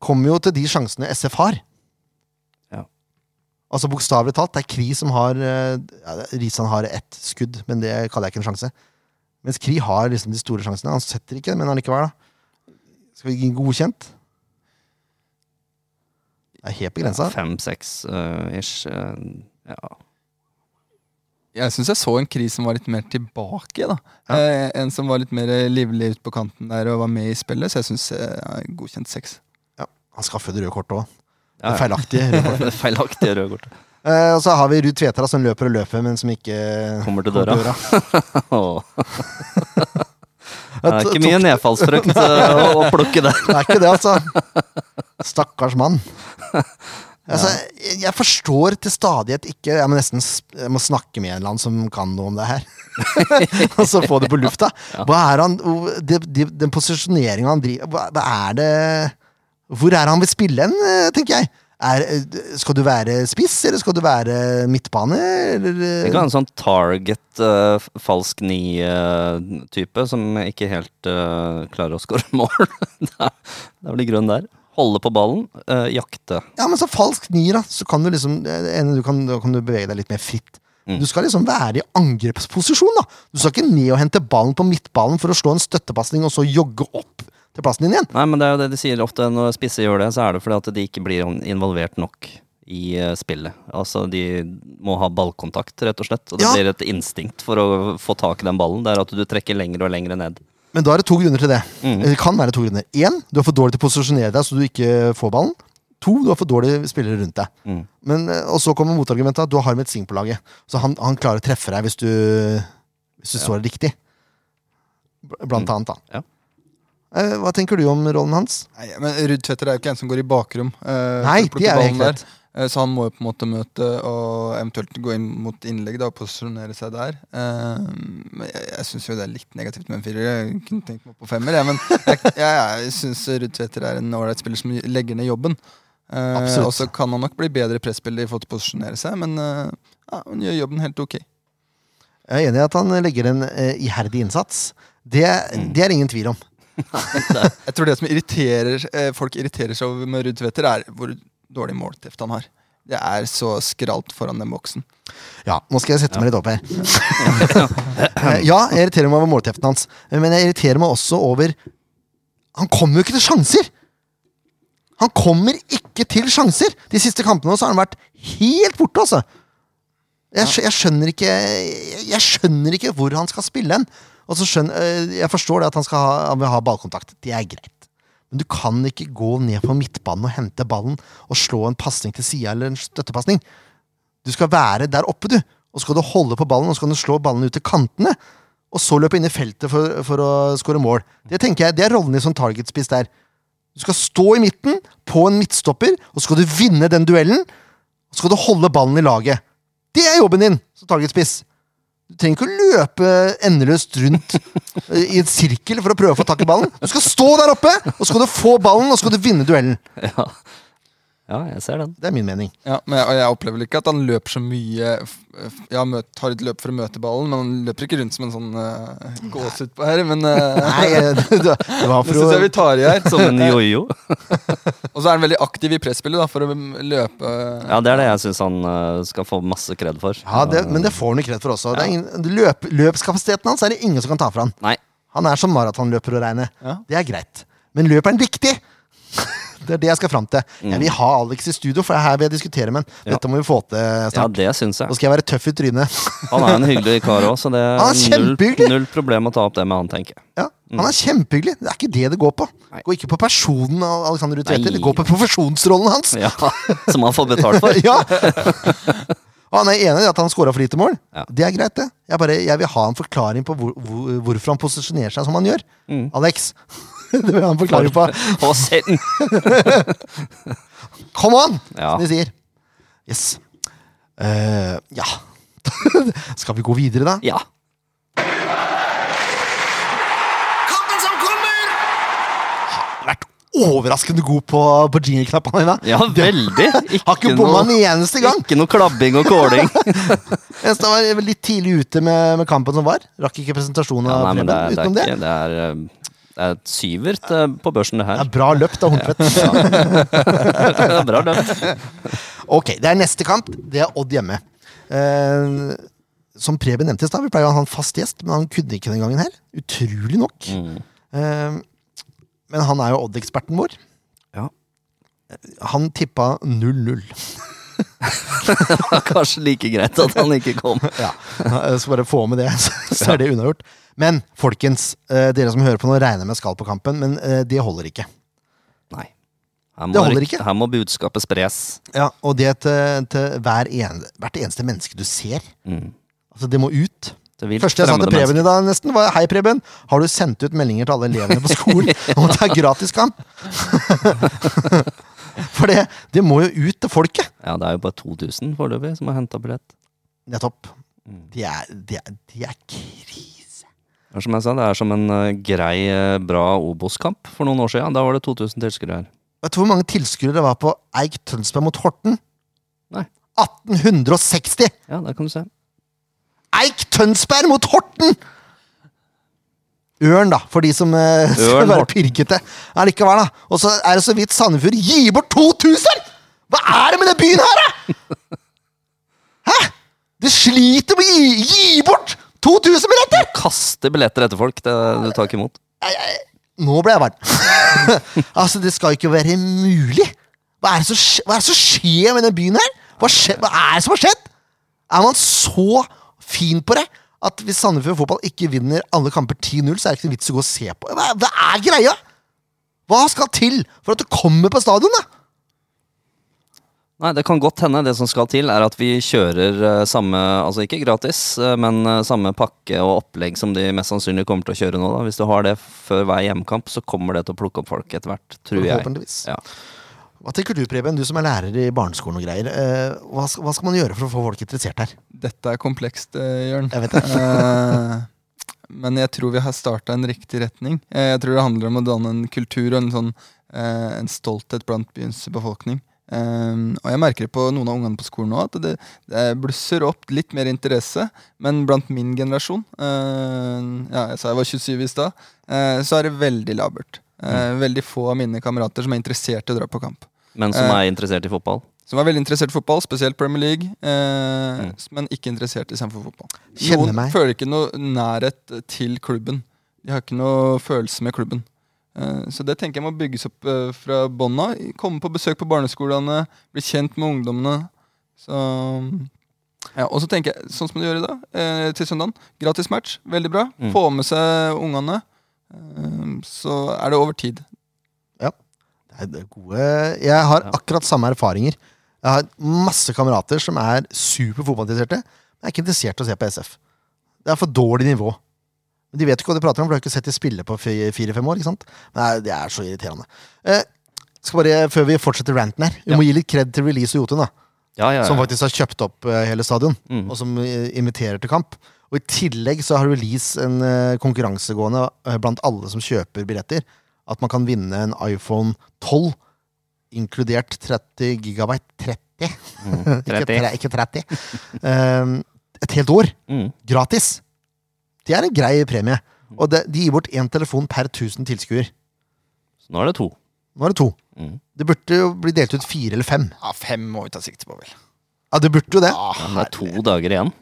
[SPEAKER 1] kommer jo til de sjansene SF har.
[SPEAKER 2] Ja.
[SPEAKER 1] Altså Bokstavelig talt, det er Kri som har eh, ja, Risan har ett skudd, men det kaller jeg ikke en sjanse. Mens Kri har liksom de store sjansene. Han setter ikke, men allikevel, da. Skal vi gi godkjent? Det er helt begrensa.
[SPEAKER 2] Fem-seks eh, ish. eh, ja.
[SPEAKER 3] Jeg syns jeg så en kri som var litt mer tilbake. da
[SPEAKER 1] Ja.
[SPEAKER 3] eh, En som var litt mer livlig ute på kanten der og var med i spillet, så jeg syns eh, godkjent seks.
[SPEAKER 1] Ja. Han skaffer det røde kortet òg.
[SPEAKER 2] Ja, ja.
[SPEAKER 1] Feilaktige røde kort.
[SPEAKER 2] Feilaktige røde kort.
[SPEAKER 1] Eh, og så har vi Ruud Tvetra som løper og løper, men som ikke
[SPEAKER 2] Kommer til døra. Åh. Det er
[SPEAKER 1] Jeg
[SPEAKER 2] ikke
[SPEAKER 1] tok-
[SPEAKER 2] mye nedfallsfrukt eh, å, å plukke der.
[SPEAKER 1] Det er ikke det, altså. Stakkars mann. Altså, jeg- jeg forstår til stadighet ikke Jeg må nesten s- jeg må snakke med en eller annen som kan noe om det her. og så få det på lufta. Hva er han hvor- de, de, Den posisjoneringa han driver hva, hva er det Hvor er han vil spille hen, eh, tenker jeg? Er, eh, skal du være spiss, eller skal du være midtbane? Eller,
[SPEAKER 2] Det
[SPEAKER 1] eh,
[SPEAKER 2] kan være en sånn target eh, f- falsk ni-type som ikke helt eh, klarer å score mål. det er det er vel i grunnen der. Holde på ballen, eh, jakte.
[SPEAKER 1] Ja, men så falsk nier, da. Så kan du liksom det ene du kan, da kan du bevege deg litt mer fritt.
[SPEAKER 2] Mm.
[SPEAKER 1] Du skal liksom være i angrepsposisjon, da. Du skal ikke ned og hente ballen på midtballen for å slå en støttepasning og så jogge opp til plassen din igjen.
[SPEAKER 2] Nei, men det er jo det de sier ofte når spisse gjør det, så er det fordi at de ikke blir in- involvert nok i eh, spillet. Altså, de må ha ballkontakt, rett og slett. Og det
[SPEAKER 1] Ja.
[SPEAKER 2] blir et instinkt for å få tak i den ballen. Det er at du trekker lenger og lenger ned.
[SPEAKER 1] Men da er det to grunner til det.
[SPEAKER 2] Mm.
[SPEAKER 1] Det kan være to grunner. Én, du er for dårlig til å posisjonere deg så du ikke får ballen. To, du har for dårlige spillere rundt deg.
[SPEAKER 2] Mm.
[SPEAKER 1] Men, eh, og så kommer motargumentet at du har Harmet Singh på laget. Så han, han klarer å treffe deg hvis du, hvis du står riktig. Bl- Blant annet, da.
[SPEAKER 2] Mm. Ja.
[SPEAKER 1] Eh, Hva tenker du om rollen hans?
[SPEAKER 3] Nei, men Ruud Tvetter er jo ikke en som går i bakrom. eh,
[SPEAKER 1] Nei,
[SPEAKER 3] for å plukke
[SPEAKER 1] det er jo
[SPEAKER 3] ballen
[SPEAKER 1] helt
[SPEAKER 3] der.
[SPEAKER 1] rett.
[SPEAKER 3] Eh, Så han må jo på en måte møte og eventuelt gå inn mot innlegg da, og posisjonere seg der. Eh, men jeg jeg syns jo det er litt negativt med en firer. Jeg kunne tenkt meg opp på femmer. Jeg, men jeg, jeg, jeg syns Ruud Tveter er en ålreit spiller som legger ned jobben. Eh,
[SPEAKER 1] Absolutt.
[SPEAKER 3] og så kan han nok bli bedre presspiller i forhold til å posisjonere seg, men eh, ja, han gjør jobben helt ok.
[SPEAKER 1] Jeg er enig i at han legger en eh, iherdig innsats. Det, det er ingen tvil om.
[SPEAKER 3] Jeg tror det som irriterer eh, folk irriterer seg over med Ruud Tveter, er hvor dårlig målteft han har. Det er så skralt foran den boksen.
[SPEAKER 1] Ja, Nå skal jeg sette meg litt opp her. Eh, ja, jeg irriterer meg over målteften hans, men jeg irriterer meg også over Han kommer jo ikke til sjanser! Han kommer ikke til sjanser! De siste kampene også har han vært helt borte, altså. Jeg, skj- jeg skjønner ikke jeg- Jeg skjønner ikke hvor han skal spille hen. Og så skjønner, eh, jeg forstår det at han, skal ha, han vil ha ballkontakt. Det er greit. Men du kan ikke gå ned på midtbanen og hente ballen og slå en pasning til sida eller en støttepasning. Du skal være der oppe, du. Og så skal du holde på ballen, og så kan du slå ballen ut til kantene. Og så løpe inn i feltet for, for å skåre mål. Det tenker jeg, det er rollen din som targetspiss der. Du skal stå i midten, på en midtstopper, og så skal du vinne den duellen. Og så skal du holde ballen i laget. Det er jobben din som targetspiss. Du trenger ikke å løpe endeløst rundt eh, i en sirkel for å prøve å få tak i ballen. Du skal stå der oppe, og så skal du få ballen, og så skal du vinne duellen.
[SPEAKER 2] Ja, ja jeg ser den.
[SPEAKER 1] Det er min mening.
[SPEAKER 3] Ja, men jeg, og jeg opplever vel ikke at han løper så mye f- f- Ja, møt, tar et løp for å møte ballen, men han løper ikke rundt som en sånn uh, gåsehud på her. Men eh,
[SPEAKER 1] Nei, eh, det det var
[SPEAKER 3] det
[SPEAKER 1] for å
[SPEAKER 3] syns jeg vi tar i her.
[SPEAKER 2] Som en jojo.
[SPEAKER 3] Og så er han veldig aktiv i presspillet da, for å m- løpe.
[SPEAKER 2] Ja, det er det jeg syns han eh, skal få masse kred for.
[SPEAKER 1] Ja, det, men det får han jo kred for også. Det er ingen, løp, løpskapasiteten hans er det ingen som kan ta fra han.
[SPEAKER 2] Nei.
[SPEAKER 1] Han er som maratonløper å regne.
[SPEAKER 3] Ja.
[SPEAKER 1] Det er greit. Men løper han riktig? Det er det jeg skal fram til. Jeg vil ha Alex i studio, for det er her vil jeg diskutere med han.
[SPEAKER 2] Ja.
[SPEAKER 1] Dette må vi få til eh,
[SPEAKER 2] Ja,
[SPEAKER 1] snart.
[SPEAKER 2] det syns jeg.
[SPEAKER 1] Nå skal jeg være tøff i trynet.
[SPEAKER 2] Han er en hyggelig kar òg, så det
[SPEAKER 1] Han
[SPEAKER 2] er
[SPEAKER 1] er
[SPEAKER 2] null,
[SPEAKER 1] kjempehyggelig!
[SPEAKER 2] null problem å ta opp det med han, tenker jeg.
[SPEAKER 1] Ja, han er kjempehyggelig. Det er ikke det det går på.
[SPEAKER 2] Nei.
[SPEAKER 1] Det går ikke på personen av Alexander Ruud Tveter,
[SPEAKER 2] Nei.
[SPEAKER 1] det går på profesjonsrollen hans!
[SPEAKER 2] Ja, Som han får betalt for.
[SPEAKER 1] ja. Og han er enig i at han scora for lite mål.
[SPEAKER 2] Ja.
[SPEAKER 1] Det er greit, det. Jeg, bare, jeg vil ha en forklaring på hvor, hvor, hvorfor han posisjonerer seg som han gjør.
[SPEAKER 2] Mm.
[SPEAKER 1] Alex, det vil jeg ha en forklaring på.
[SPEAKER 2] Og send!
[SPEAKER 1] Come on!
[SPEAKER 2] Ja.
[SPEAKER 1] Som de sier. Yes. Eh, ja. Skal vi gå videre, da?
[SPEAKER 2] Ja.
[SPEAKER 4] Kampen som kommer!
[SPEAKER 1] Vært overraskende god på, på jingle-knappene i dag.
[SPEAKER 2] ja, veldig!
[SPEAKER 1] Har ikke bomma en eneste gang!
[SPEAKER 2] ikke noe klabbing og kåling.
[SPEAKER 1] Jeg var litt tidlig ute med, med kampen som var. Rakk ikke presentasjonen
[SPEAKER 2] Ja,
[SPEAKER 1] av
[SPEAKER 2] nei, men det
[SPEAKER 1] Preben
[SPEAKER 2] er, det er,
[SPEAKER 1] utenom det.
[SPEAKER 2] ikke, det er, eh, det er et syvert eh, på børsen, det
[SPEAKER 1] Det
[SPEAKER 2] her.
[SPEAKER 1] er bra løpt av Horntvedt.
[SPEAKER 2] Det er bra dømt.
[SPEAKER 1] Ok, det er neste kamp. Det er Odd hjemme. Eh, som Preben nevnte i stad, vi pleier å ha en fast gjest, men han kunne ikke den gangen her. Utrolig
[SPEAKER 2] Mm.
[SPEAKER 1] nok. Eh, men han er jo Odd-eksperten vår.
[SPEAKER 2] Ja.
[SPEAKER 1] Eh, Han tippa 0-0.
[SPEAKER 2] Det var kanskje like greit at han ikke kom.
[SPEAKER 1] Ja, jeg skal bare få med det, så så er det unnagjort. Men folkens, eh, dere som hører på nå, regner med skal på kampen, men eh, det holder ikke.
[SPEAKER 2] Nei. Her må,
[SPEAKER 1] Det holder
[SPEAKER 2] rykt-
[SPEAKER 1] ikke.
[SPEAKER 2] Her må budskapet spres.
[SPEAKER 1] Ja, Og det til, til hver en, hvert eneste menneske du ser.
[SPEAKER 2] Mm.
[SPEAKER 1] Altså, Det må ut.
[SPEAKER 2] Det vil
[SPEAKER 1] Første jeg sa til
[SPEAKER 2] fremmede
[SPEAKER 1] Preben i dag, nesten, var Hei, Preben, har du sendt ut meldinger til alle elevene på skolen om at det er gratiskamp? For det, det må jo ut til folket.
[SPEAKER 2] mennesker. Ja, det er jo bare 2000 foreløpig som har henta billett.
[SPEAKER 1] Nettopp.
[SPEAKER 2] Mm.
[SPEAKER 1] De er, de er, de er krise.
[SPEAKER 2] Det er Som jeg sa, det er som en eh, grei, eh, bra Obos-kamp for noen år siden. Da var det 2000 tilskuere her.
[SPEAKER 1] Vet du hvor mange tilskuere det var på Eik Tønsberg mot Horten?
[SPEAKER 2] Nei.
[SPEAKER 1] 1860!
[SPEAKER 2] Ja, der kan du se.
[SPEAKER 1] Eik Tønsberg mot Horten! Ørn, da, for de som eh, skal
[SPEAKER 2] Ørn,
[SPEAKER 1] være
[SPEAKER 2] Horten.
[SPEAKER 1] pirkete. Ja, likevel, da. Og så er det så vidt Sandefjord gir bort 2000! Hva er det med den byen her, da?! Hæ?! Det sliter med å gi, gi bort 2000 billetter!
[SPEAKER 2] Kaste billetter etter folk, det du tar ikke imot.
[SPEAKER 1] Nå ble jeg varm. altså, det skal ikke være mulig! Hva er det som, skj- hva er det som skjer med den byen her? Hva, skje, hva er det som har skjedd? Er man så fin på det at hvis Sandefjord fotball ikke vinner alle kamper 10-0, så er det ikke noe vits å gå og se på? Hva, hva er greia? Hva skal til for at du kommer på stadion, da?
[SPEAKER 2] Nei, det kan godt hende. Det som skal til, er at vi kjører eh, samme, altså ikke gratis, eh, men eh, samme pakke og opplegg som de mest sannsynlig kommer til å kjøre nå. da. Hvis du har det før hver hjemmekamp, så kommer det til å plukke opp folk etter hvert, tror jeg.
[SPEAKER 1] Forhåpentligvis.
[SPEAKER 2] Ja.
[SPEAKER 1] Hva tenker du, Preben, du som er lærer i barneskolen og greier? eh, Hva skal, hva skal man gjøre for å få folk interessert her?
[SPEAKER 3] Dette er komplekst, eh, Jørn.
[SPEAKER 1] Jeg vet det.
[SPEAKER 3] Eh, Men jeg tror vi har starta en riktig retning. Eh, Jeg tror det handler om å danne en kultur og en, sånn, eh, en stolthet blant byens befolkning. Eh, og jeg merker det på noen av ungene på skolen nå, at det, det blusser opp litt mer interesse. Men blant min generasjon, eh, ja, jeg sa jeg var 27 i stad, eh, så er det veldig labert. Eh, veldig få av mine kamerater som er interessert i å dra på kamp
[SPEAKER 2] Men som er interessert i fotball.
[SPEAKER 3] som er veldig interessert i fotball, spesielt Premier League, eh, men ikke interessert i samfunn fotball.
[SPEAKER 1] Kjenner
[SPEAKER 3] Noen
[SPEAKER 1] meg.
[SPEAKER 3] føler ikke noe nærhet til klubben. De har ikke noe følelse med klubben. Eh, så det tenker jeg må bygges opp eh, fra bånn av. Komme på besøk på barneskolene, bli kjent med ungdommene. Så ja, Og så tenker jeg, sånn som du gjør i dag, eh, til søndagen. Gratis match, veldig bra.
[SPEAKER 2] Mm.
[SPEAKER 3] Få med seg ungene. Eh, så er det over tid.
[SPEAKER 1] Nei, det er gode Jeg har akkurat samme erfaringer. Jeg har masse kamerater som er super fotballinteresserte, men er ikke interessert i å se på SF. Det er for dårlig nivå. Men De vet ikke hva de prater om, for de har ikke sett de spille på fi- fire-fem år. ikke sant? Nei, Det er så irriterende. Eh, skal bare, Før vi fortsetter ranten her, vi må gi litt kred til Release og Jotun, da,
[SPEAKER 2] Ja, ja, ja.
[SPEAKER 1] som faktisk har kjøpt opp eh, hele stadion,
[SPEAKER 2] Mm.
[SPEAKER 1] og som eh, inviterer til kamp. Og I tillegg så har Release en eh, konkurranse gående eh, blant alle som kjøper billetter, at man kan vinne en iPhone 12, inkludert 30 gigabyte 30.
[SPEAKER 2] Mm.
[SPEAKER 1] Ikke,
[SPEAKER 2] 30.
[SPEAKER 1] tre, ikke 30. Um, et helt år.
[SPEAKER 2] Mm.
[SPEAKER 1] Gratis. Det er en grei premie. Og det, de gir bort én telefon per 1000 tilskuere.
[SPEAKER 2] Så nå er det to.
[SPEAKER 1] Nå er det to.
[SPEAKER 2] Mm.
[SPEAKER 1] Det burde jo bli delt ut fire eller fem.
[SPEAKER 3] Ja, Fem må vi ta sikte på, vel.
[SPEAKER 1] Ja, det burde jo det.
[SPEAKER 2] Ja, men det er to dager igjen.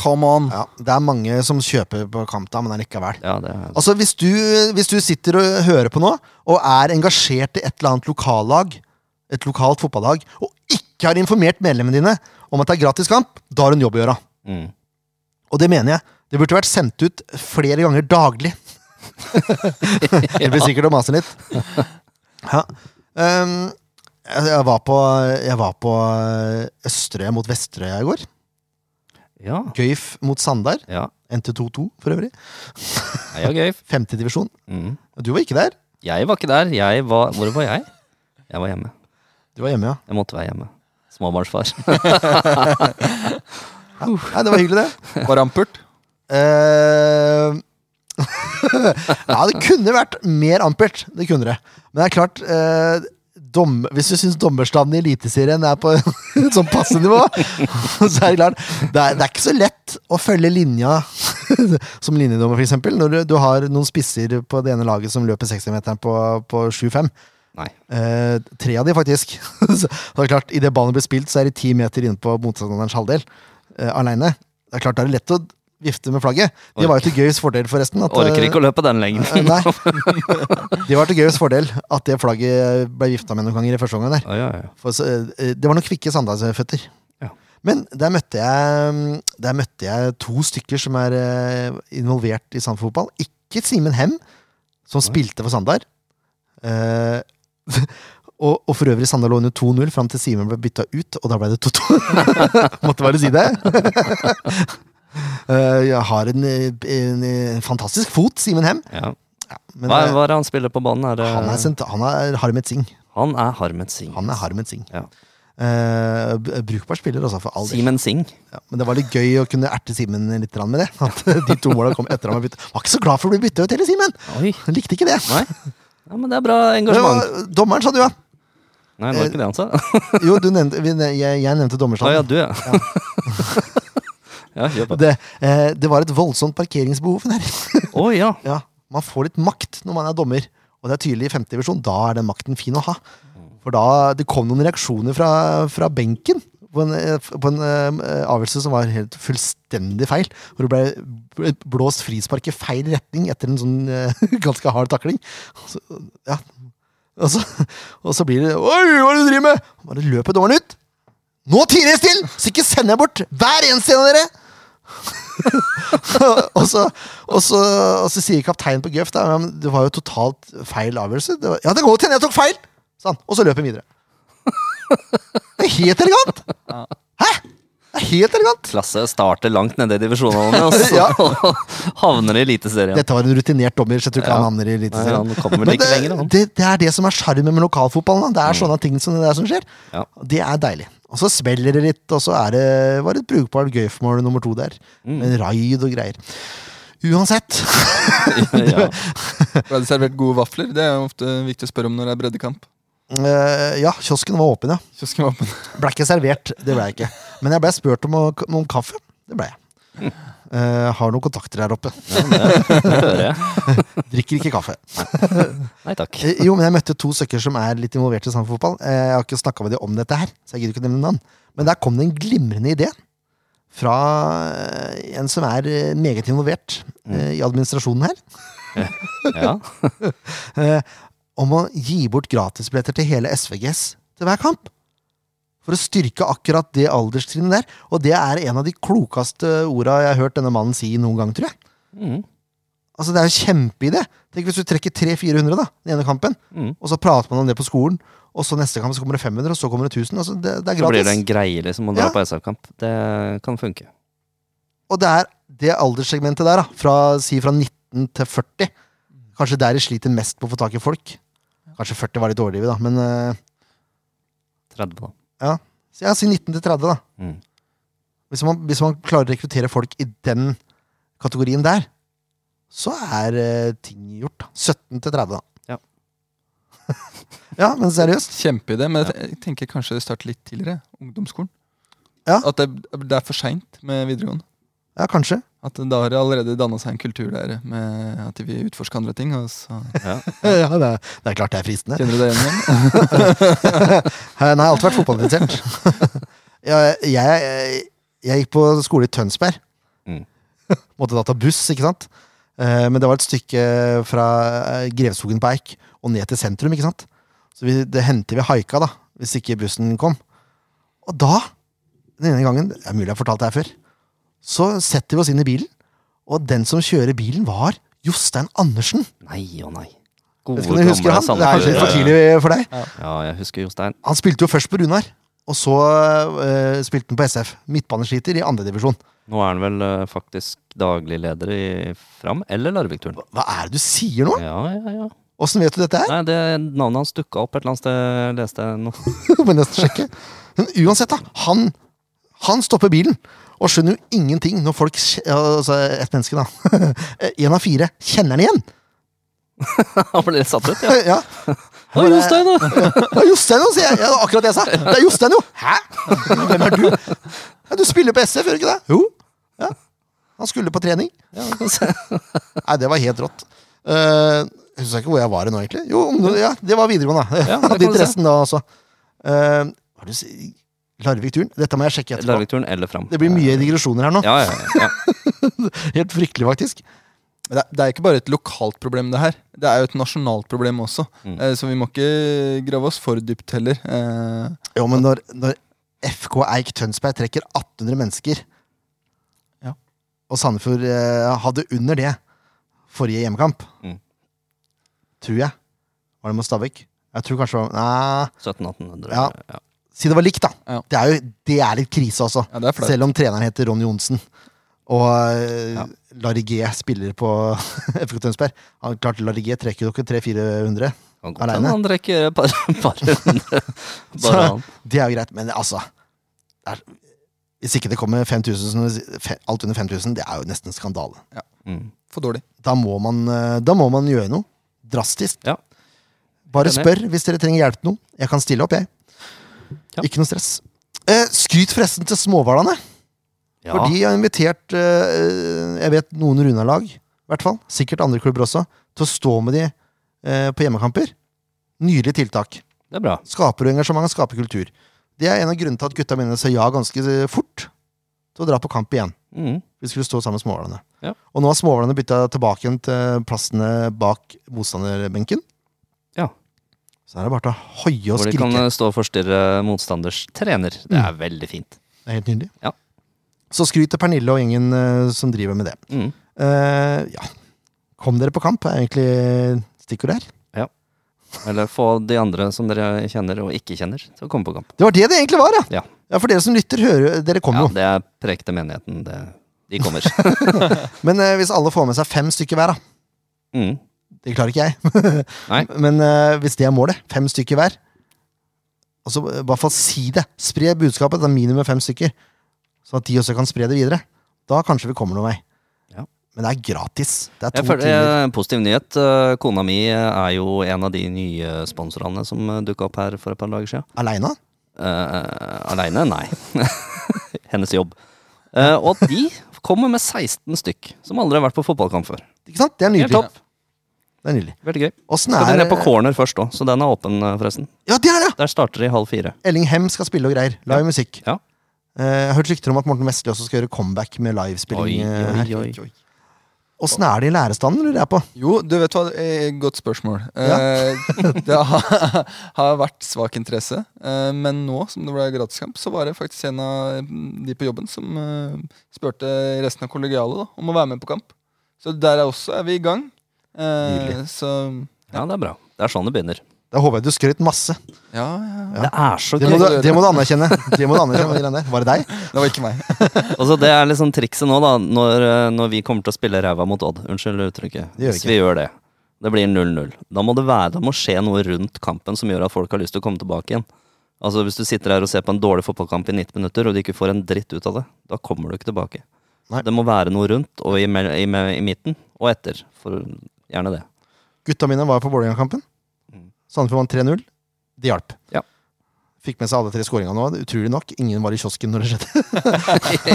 [SPEAKER 3] Come on!
[SPEAKER 1] Ja, det er mange som kjøper på kamp da, men allikevel.
[SPEAKER 2] Ja, det er
[SPEAKER 1] Altså, hvis du, hvis du sitter og hører på nå, og er engasjert i et eller annet lokallag, et lokalt fotballag, og ikke har informert medlemmene dine om at det er gratis kamp, da har du en jobb å gjøre.
[SPEAKER 2] mm.
[SPEAKER 1] Og det mener jeg. Det burde vært sendt ut flere ganger daglig. Det blir sikkert å mase litt. Ja. Ehm, jeg, jeg var på, jeg var på Østerøya mot Vesterøya i går.
[SPEAKER 2] Ja.
[SPEAKER 1] Gøyf mot Sandar.
[SPEAKER 2] ja.
[SPEAKER 1] NT22 for øvrig.
[SPEAKER 2] Nei, ja, gøy.
[SPEAKER 1] Femtedivisjon.
[SPEAKER 2] Mm.
[SPEAKER 1] Du var ikke der.
[SPEAKER 2] Jeg var ikke der. Jeg var Hvor var jeg? Jeg var hjemme.
[SPEAKER 1] Du var hjemme, ja.
[SPEAKER 2] Jeg måtte være hjemme. Småbarnsfar.
[SPEAKER 1] Nei, det var hyggelig, det.
[SPEAKER 3] Var det ampert?
[SPEAKER 1] Eh, ja, det kunne vært mer ampert. Det kunne det. Men det er klart eh, dom, Hvis du syns dommerstanden i Eliteserien er på et sånn passe nivå, så er det klart det er, det er ikke så lett å følge linja som linjedommer, f.eks. Når du, du har noen spisser på det ene laget som løper 60-meteren på, på 7-5.
[SPEAKER 2] Nei.
[SPEAKER 1] Eh, tre av de, faktisk. så det er klart, Idet ballen blir spilt, så er de ti meter inne på motstanderens halvdel eh, aleine. Det er klart, da er det lett å vifte med flagget. Det var jo til Gøys fordel, forresten. At,
[SPEAKER 2] Orker ikke å løpe den
[SPEAKER 1] eh,
[SPEAKER 2] lengden.
[SPEAKER 1] Nei. Det var til Gøys fordel at det flagget ble vifta med noen ganger i første omgang. der.
[SPEAKER 2] Ja, ja, ja.
[SPEAKER 1] For, så, eh, det var noen kvikke Sandalsføtter.
[SPEAKER 2] Ja.
[SPEAKER 1] Men der møtte, jeg, mm, der møtte jeg to stykker som er eh, involvert i Sandfotball. Ikke Simen Hem, som spilte for Sandar. Eh, og, og for øvrig Sandar lå under 2-0 fram til Simen ble bytta ut, og da ble det 2-2. Måtte bare si det. Eh, jeg har en, eh, en, eh, fantastisk fot, Simen Hem.
[SPEAKER 2] Ja.
[SPEAKER 1] Men
[SPEAKER 2] Hva,
[SPEAKER 1] eh,
[SPEAKER 2] hva er det han spiller på banen? Er det,
[SPEAKER 1] han er, sent- han er Harmet Singh.
[SPEAKER 2] han er Harmet Singh.
[SPEAKER 1] Han er Harmet Singh.
[SPEAKER 2] Ja.
[SPEAKER 1] Eh, b- brukbar spiller, altså, for all del.
[SPEAKER 2] Simen Singh.
[SPEAKER 1] Ja, men det var litt gøy å kunne erte Simen litt grann med det. At de to måla kom etter han var bytta. Var ikke så glad for å bli bytta ut heller, Simen!
[SPEAKER 2] Oi.
[SPEAKER 1] Han likte ikke det.
[SPEAKER 2] Nei. Ja, men det er bra
[SPEAKER 1] Det var,
[SPEAKER 2] engasjement.
[SPEAKER 1] dommeren, sa du, ja.
[SPEAKER 2] Nei, det var ikke det han sa.
[SPEAKER 1] Jo, du nevnte, vi, ne- jeg, jeg nevnte
[SPEAKER 2] Å ja,
[SPEAKER 1] dommerstanden.
[SPEAKER 2] du, ja. ja, kjør på.
[SPEAKER 1] det, eh, det var et voldsomt parkeringsbehov der.
[SPEAKER 2] Å ja.
[SPEAKER 1] ja, man får litt makt når man er dommer. Og det er tydelig i femte divisjon. Da er den makten fin å ha. For da det kom noen reaksjoner fra, fra benken på en, eh, f- på en eh, avgjørelse som var helt fullstendig feil. Hvor det ble bl- blåst frispark i feil retning etter en sånn eh, ganske hard takling. Og Så, ja. og, så, og så blir det Oi, hva er det du driver med?! Bare løper dommeren ut! Nå tier jeg stille! Så ikke sender jeg bort hver eneste en av dere! og, så, og, så, og så sier kapteinen på Gøff da, «Ja, men det var jo totalt feil avgjørelse. Det var, ja, det går til jeg tok feil! Sa han. Og så løp han videre. Det er helt elegant! Hæ? Det er helt elegant!
[SPEAKER 2] Klasse starter langt nede i divisjonene, og så havner i Eliteserien.
[SPEAKER 1] Dette var en rutinert dommer, så jeg tror ikke
[SPEAKER 2] Ja.
[SPEAKER 1] han havner i
[SPEAKER 2] Nei,
[SPEAKER 1] Eliteserien.
[SPEAKER 2] han kommer vel
[SPEAKER 1] Men
[SPEAKER 2] ikke
[SPEAKER 1] det,
[SPEAKER 2] lenger, han. Mm.
[SPEAKER 1] det, det er det som er sjarmen med lokalfotballen. Da. Det er sånne ting som det der som skjer.
[SPEAKER 2] Ja.
[SPEAKER 1] Det er deilig. Og så smeller det litt, og så er det, var det et brukbart gøyfmål nummer to der.
[SPEAKER 2] Mm.
[SPEAKER 1] Med raid og greier. Uansett.
[SPEAKER 2] ja.
[SPEAKER 3] Ble det servert gode vafler? Det er jo ofte viktig å spørre om når det er breddekamp.
[SPEAKER 1] eh, ja, kiosken var åpen, ja.
[SPEAKER 3] Kiosken var åpen.
[SPEAKER 1] Ble ikke servert, det ble jeg ikke. Men jeg ble spurt om, å- om kaffe. Det ble jeg. Eh, har noen kontakter her oppe.
[SPEAKER 2] Det hører jeg.
[SPEAKER 1] Drikker ikke kaffe.
[SPEAKER 2] Nei takk.
[SPEAKER 1] Eh, jo, men jeg møtte to stykker som er litt involvert i samfunnsfotball. Eh, jeg har ikke snakka med dem om dette her, så jeg gidder ikke nevne navn. Men der kom det en glimrende idé fra eh, en som er eh, meget involvert eh, i administrasjonen her.
[SPEAKER 2] Ja.
[SPEAKER 1] eh, om å gi bort gratisbilletter til hele SVGS til hver kamp. For å styrke akkurat det alderstrinnet der. Og det er en av de klokeste orda jeg har hørt denne mannen si noen gang, tror jeg.
[SPEAKER 2] Mm.
[SPEAKER 1] Altså, det er jo kjempeidé. Tenk hvis du trekker 300-400 da, den ene kampen,
[SPEAKER 2] Mm.
[SPEAKER 1] og så prater man om det på skolen, og så neste kamp så kommer det 500, og så kommer det 1000. Altså, det, det er
[SPEAKER 2] Så blir det
[SPEAKER 1] gratis.
[SPEAKER 2] en greie liksom å dra
[SPEAKER 1] Ja.
[SPEAKER 2] på SF-kamp. Det kan funke.
[SPEAKER 1] Og det er det alderssegmentet der, da, fra, si fra 19 til 40, kanskje der de sliter mest på å få tak i folk. Kanskje 40 var litt overdrevet, da, men eh,
[SPEAKER 2] 30, da.
[SPEAKER 1] Så jeg sier 19 til 30, da.
[SPEAKER 2] Mm.
[SPEAKER 1] Hvis, man, hvis man klarer å rekruttere folk i den kategorien der, så er eh, ting gjort. da. 17 til 30, da.
[SPEAKER 2] Ja.
[SPEAKER 1] ja, men seriøst.
[SPEAKER 3] Kjempeidé, men jeg te- jeg tenker kanskje starte litt tidligere. Ungdomsskolen.
[SPEAKER 1] Ja.
[SPEAKER 3] At det, det er for seint med videregående.
[SPEAKER 1] Ja, kanskje.
[SPEAKER 3] At Da har det allerede danna seg en kultur der med at de vil utforske andre ting. Og så
[SPEAKER 2] Ja.
[SPEAKER 1] Ja, det, er, det er klart det er fristende.
[SPEAKER 3] kjenner du deg igjen igjen.
[SPEAKER 1] Eh, Nei, jeg har alltid vært fotballinteressert. ja, jeg, jeg, jeg gikk på skole i Tønsberg.
[SPEAKER 2] Mm.
[SPEAKER 1] Måtte da ta buss, ikke sant? Eh, Men det var et stykke fra eh, Grevskogen på Eik og ned til sentrum, ikke sant? Så vi, det hendte vi haika, da, hvis ikke bussen kom. Og da, den ene gangen, det er mulig jeg har fortalt det her før, så setter vi oss inn i bilen, og den som kjører bilen, var Jostein Andersen.
[SPEAKER 2] Nei og nei.
[SPEAKER 1] Vet
[SPEAKER 2] Gode,
[SPEAKER 1] ikke om du husker han? Det er kanskje litt for tidlig for deg?
[SPEAKER 2] Ja, jeg husker Jostein.
[SPEAKER 1] Han spilte jo først på Runar, og så eh, spilte han på SF. Midtbanesliter i andredivisjon.
[SPEAKER 2] Nå er han vel eh, faktisk daglig leder i Fram eller Larvik-turen.
[SPEAKER 1] Hva er det du sier nå?!
[SPEAKER 2] Ja, ja, ja.
[SPEAKER 1] Åssen vet du dette her?
[SPEAKER 2] Nei, det Navnet hans dukka opp et eller annet sted, jeg leste jeg noe.
[SPEAKER 1] Må nesten sjekke. Men uansett, da. Han, han stopper bilen. Og skjønner jo ingenting når folk kje- Altså, ett menneske, da. Én av fire kjenner han igjen!
[SPEAKER 2] Han ble litt satt ut, ja.
[SPEAKER 1] Ja.
[SPEAKER 2] Oi, Jostein, da!
[SPEAKER 1] Det er Jostein, jo, sier jeg! Ja, det var akkurat det jeg sa! Det er Jostein, jo! Hæ?! Hvem er du? Ja, du spiller på SF, gjør du ikke det? Jo. Ja. Han skulle på trening.
[SPEAKER 2] Ja, vi får se.
[SPEAKER 1] Nei, det var helt rått. Uh, Husker jeg ikke hvor jeg var nå, egentlig. Jo, ungdom- ja, det var videregående. da.
[SPEAKER 2] Ja,
[SPEAKER 1] Jeg
[SPEAKER 2] det
[SPEAKER 1] Hadde
[SPEAKER 2] kan du se.
[SPEAKER 1] interessen da også. Eh, hva er det du sier? Larvik-turen. Dette må jeg sjekke etterpå.
[SPEAKER 2] Larvik-turen eller fram.
[SPEAKER 1] Det blir mye digresjoner her nå.
[SPEAKER 2] Ja, ja, ja, ja.
[SPEAKER 1] Helt fryktelig, faktisk.
[SPEAKER 3] Men Det, det er ikke bare et lokalt problem, det her. Det er jo et nasjonalt problem også.
[SPEAKER 2] Mm.
[SPEAKER 3] Eh, Så vi må ikke grave oss for dypt heller. Eh,
[SPEAKER 1] Jo, men når, når FK Eik Tønsberg trekker 1800 mennesker,
[SPEAKER 3] Ja.
[SPEAKER 1] og Sandefjord eh, hadde under det forrige hjemmekamp,
[SPEAKER 2] Mm.
[SPEAKER 1] tror jeg Var det mot Stabæk? Jeg tror kanskje det var Nei,
[SPEAKER 2] 1700-1800.
[SPEAKER 1] Ja.
[SPEAKER 2] ja.
[SPEAKER 1] si det var likt, da.
[SPEAKER 3] Ja.
[SPEAKER 1] Det, er jo, det er litt krise, altså.
[SPEAKER 3] Ja, det er flaut.
[SPEAKER 1] Selv om treneren heter Ronny Johnsen. Og eh,
[SPEAKER 2] Ja.
[SPEAKER 1] Larry G spiller på FK Tønsberg. Han, klart, Larry G trekker jo ikke 300-400.
[SPEAKER 2] Kan godt
[SPEAKER 1] Alene.
[SPEAKER 2] hende han drikker et par, par hundre. Bare
[SPEAKER 1] Så-
[SPEAKER 2] han.
[SPEAKER 1] Det er jo greit, men altså det er, Hvis ikke det kommer 5000, som du sier, fe- alt under 5000, det er jo nesten skandale.
[SPEAKER 2] Mm.
[SPEAKER 3] For dårlig.
[SPEAKER 1] Da må man, eh, da må man gjøre noe. Drastisk.
[SPEAKER 2] Ja.
[SPEAKER 1] Bare
[SPEAKER 2] Enig.
[SPEAKER 1] spør hvis dere trenger hjelp til noe. Jeg kan stille opp, jeg.
[SPEAKER 2] Ja.
[SPEAKER 1] Ikke noe stress. Eh, skryt forresten til Småhvalene,
[SPEAKER 2] Ja.
[SPEAKER 1] for de har invitert eh, jeg vet noen Runar-lag, i hvert fall, sikkert andre klubber også, til å stå med de eh, på hjemmekamper. Nydelig tiltak.
[SPEAKER 2] Det er bra.
[SPEAKER 1] Skaper du engasjement, skaper kultur. Det er en av grunnene til at gutta mine sa ja ganske eh, fort til å dra på kamp igjen.
[SPEAKER 2] Mm.
[SPEAKER 1] Vi skulle stå sammen med småhvalene.
[SPEAKER 2] Ja.
[SPEAKER 1] Og nå har småhvalene bytta tilbake igjen til plassene bak motstanderbenken.
[SPEAKER 2] Ja.
[SPEAKER 1] Så er det bare til å hoie og
[SPEAKER 2] Hvor de kan
[SPEAKER 1] skrike.
[SPEAKER 2] eh, stå og forstyrre motstanders trener. Det
[SPEAKER 1] Mm.
[SPEAKER 2] er veldig fint.
[SPEAKER 1] Det er helt nydelig.
[SPEAKER 2] Ja.
[SPEAKER 1] Så skryt til Pernille og gjengen eh, som driver med det.
[SPEAKER 2] Mm.
[SPEAKER 1] Eh, ja. Kom dere på kamp, er egentlig stikkordet her.
[SPEAKER 2] Eller få de andre som dere kjenner og ikke kjenner, til å komme på kamp.
[SPEAKER 1] Det var det det egentlig var, ja!
[SPEAKER 2] Ja.
[SPEAKER 1] for dere som lytter, hører, dere kommer
[SPEAKER 2] Ja,
[SPEAKER 1] jo.
[SPEAKER 2] det er prekte menigheten. Det, de kommer.
[SPEAKER 1] Men eh, hvis alle får med seg fem stykker hver, da.
[SPEAKER 2] Mm.
[SPEAKER 1] Det klarer ikke jeg.
[SPEAKER 2] Nei.
[SPEAKER 1] Men eh, hvis det er målet, fem stykker hver Og så eh, i hvert fall si det. Spre budskapet. Det er minimum fem stykker. Sånn at de også kan spre det videre. Da kanskje vi kommer noen vei.
[SPEAKER 2] Ja.
[SPEAKER 1] Men det er gratis. Det er to
[SPEAKER 2] Jeg føler,
[SPEAKER 1] timer.
[SPEAKER 2] eh, positiv nyhet. Eh, Kona mi eh, er jo en av de nye sponsorene som dukka opp her for et par dager siden.
[SPEAKER 1] Aleine?
[SPEAKER 2] Uh, Aleine? Nei. Hennes jobb. Eh, og at de kommer med 16 stykk, som aldri har vært på fotballkamp før.
[SPEAKER 1] Ikke sant? Det er
[SPEAKER 2] Helt
[SPEAKER 1] nydelig.
[SPEAKER 2] topp.
[SPEAKER 1] Det er nydelig.
[SPEAKER 2] Veldig gøy.
[SPEAKER 1] Åssen
[SPEAKER 2] Skal de
[SPEAKER 1] er
[SPEAKER 2] ned på corner først òg, så den er åpen, eh, forresten.
[SPEAKER 1] Ja, det er det!
[SPEAKER 2] Der starter de halv fire.
[SPEAKER 1] Elling Hem skal spille og greier. Live musikk.
[SPEAKER 2] Ja.
[SPEAKER 1] Eh, jeg har hørt rykter om at Morten Vestli også skal gjøre comeback med livespilling. eh, her.
[SPEAKER 2] oi.
[SPEAKER 1] Åssen er det i lærestanden, lurer jeg på?
[SPEAKER 3] Jo, du vet hva, eh, godt spørsmål. Eh, det har, har vært svak interesse. Eh, men nå som det ble gratiskamp, så var det faktisk en av mm, de på jobben som eh, spurte resten av kollegialet da, om å være med på kamp. Så der er også er vi i gang. Eh,
[SPEAKER 1] Nydelig.
[SPEAKER 3] så
[SPEAKER 2] Ja, det er bra. Det er sånn det begynner.
[SPEAKER 1] Da håper jeg du skrøt masse.
[SPEAKER 3] ja, ja.
[SPEAKER 2] Det er så
[SPEAKER 1] Det må
[SPEAKER 2] gøy!
[SPEAKER 1] du, det må du anerkjenne. Det må du anerkjenne, de greiene der. Var det deg?
[SPEAKER 3] Det var ikke meg.
[SPEAKER 2] Altså, det er liksom trikset nå, da, når, eh, når vi kommer til å spille ræva mot Odd. Unnskyld uttrykket.
[SPEAKER 1] Det gjør
[SPEAKER 2] Hvis
[SPEAKER 1] ikke.
[SPEAKER 2] vi gjør det. Det blir 0-0. Da må det være, det må skje noe rundt kampen som gjør at folk har lyst til å komme tilbake igjen. Altså Hvis du sitter her og ser på en dårlig fotballkamp i 90 minutter, og du ikke får en dritt ut av det, da kommer du ikke tilbake.
[SPEAKER 1] Nei.
[SPEAKER 2] Det må være noe rundt, og i, mel- i, me- i midten, og etter. For gjerne det.
[SPEAKER 1] Gutta mine var på Vålerenga-kampen.
[SPEAKER 2] Mm.
[SPEAKER 1] Sandefjord vant 3-0. Det hjalp.
[SPEAKER 2] Ja.
[SPEAKER 1] Fikk med seg alle tre skåringene nå. Utrolig nok, ingen var i kiosken når det skjedde.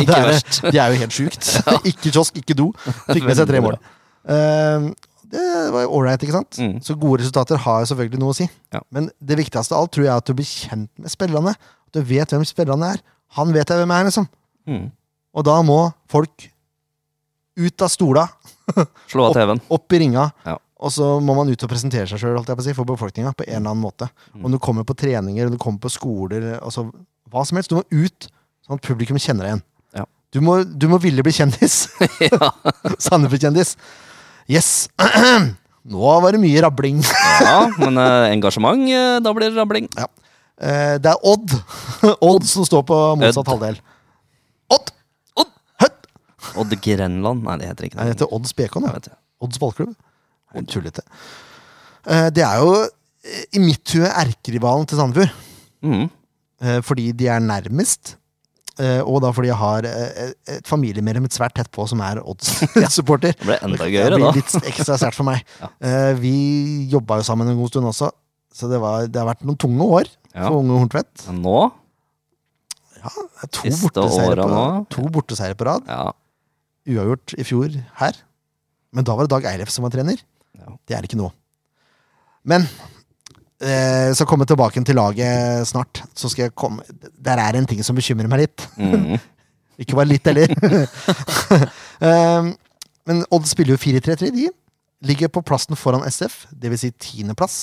[SPEAKER 2] ikke
[SPEAKER 1] Det er-
[SPEAKER 2] verst.
[SPEAKER 1] Det er jo helt sjukt. ikke kiosk, ikke do. Fikk med seg tre
[SPEAKER 2] Veldig
[SPEAKER 1] mål. Eh, det var jo ålreit, ikke sant?
[SPEAKER 2] Mm.
[SPEAKER 1] Så gode resultater har jo selvfølgelig noe å si.
[SPEAKER 2] Ja.
[SPEAKER 1] Men det viktigste av alt tror jeg er at du blir kjent med spillerne. At du vet hvem spillerne er. Han vet jeg hvem er, liksom.
[SPEAKER 2] Mm.
[SPEAKER 1] Og da må folk ut av stola
[SPEAKER 2] Slå av TV-en.
[SPEAKER 1] opp i ringa,
[SPEAKER 2] Ja.
[SPEAKER 1] og så må man ut og presentere seg sjøl si, for befolkninga på en eller annen måte.
[SPEAKER 2] Mm.
[SPEAKER 1] Om du kommer på treninger, om du kommer på skoler, altså hva som helst. Du må ut, sånn at publikum kjenner deg igjen.
[SPEAKER 2] Ja.
[SPEAKER 1] Du, må, du må ville bli kjendis.
[SPEAKER 2] ja.
[SPEAKER 1] Sandefjord-kjendis. Yes! Nå var det mye rabling.
[SPEAKER 2] ja, men eh, engasjement, eh, da blir det rabling.
[SPEAKER 1] Eh, det er Odd. Odd som står på motsatt
[SPEAKER 2] Odd.
[SPEAKER 1] halvdel. Odd! Odd! Hødd!
[SPEAKER 2] Odd Grenland? Nei, det heter ikke
[SPEAKER 1] Nei, det heter Odds BK nå.
[SPEAKER 2] Jeg vet det.
[SPEAKER 1] Odds ballklubb. Det er Tullete. Eh, Det er jo eh, i mitt hue erkerivalen til Sandefjord.
[SPEAKER 2] Mhm.
[SPEAKER 1] Eh, fordi de er nærmest. eh, Og da fordi jeg har eh, et familiemedlem svært tett på som er Odds-supporter.
[SPEAKER 2] Det ble enda
[SPEAKER 1] det
[SPEAKER 2] gøyere, da.
[SPEAKER 1] blir litt ekstra sært for meg.
[SPEAKER 2] Ja.
[SPEAKER 1] Eh, Vi jobba jo sammen en god stund også, så det, var, det har vært noen tunge år
[SPEAKER 2] Ja.
[SPEAKER 1] for unge Horntvedt.
[SPEAKER 2] Men Nå?
[SPEAKER 1] Det er To
[SPEAKER 2] Siste
[SPEAKER 1] borteseiere
[SPEAKER 2] åra
[SPEAKER 1] på,
[SPEAKER 2] nå.
[SPEAKER 1] to borteseiere på rad.
[SPEAKER 2] Ja.
[SPEAKER 1] Uavgjort i fjor her. Men da var det Dag Eilef som var trener.
[SPEAKER 2] Ja.
[SPEAKER 1] Det er det ikke nå. Men eh, skal komme tilbake til laget snart. Så skal jeg komme Der er en ting som bekymrer meg litt.
[SPEAKER 2] Mm.
[SPEAKER 1] Ikke bare litt heller. um, men Odd spiller jo 4-3-3, de. Ligger på plassen foran SF, dvs. Si tiendeplass,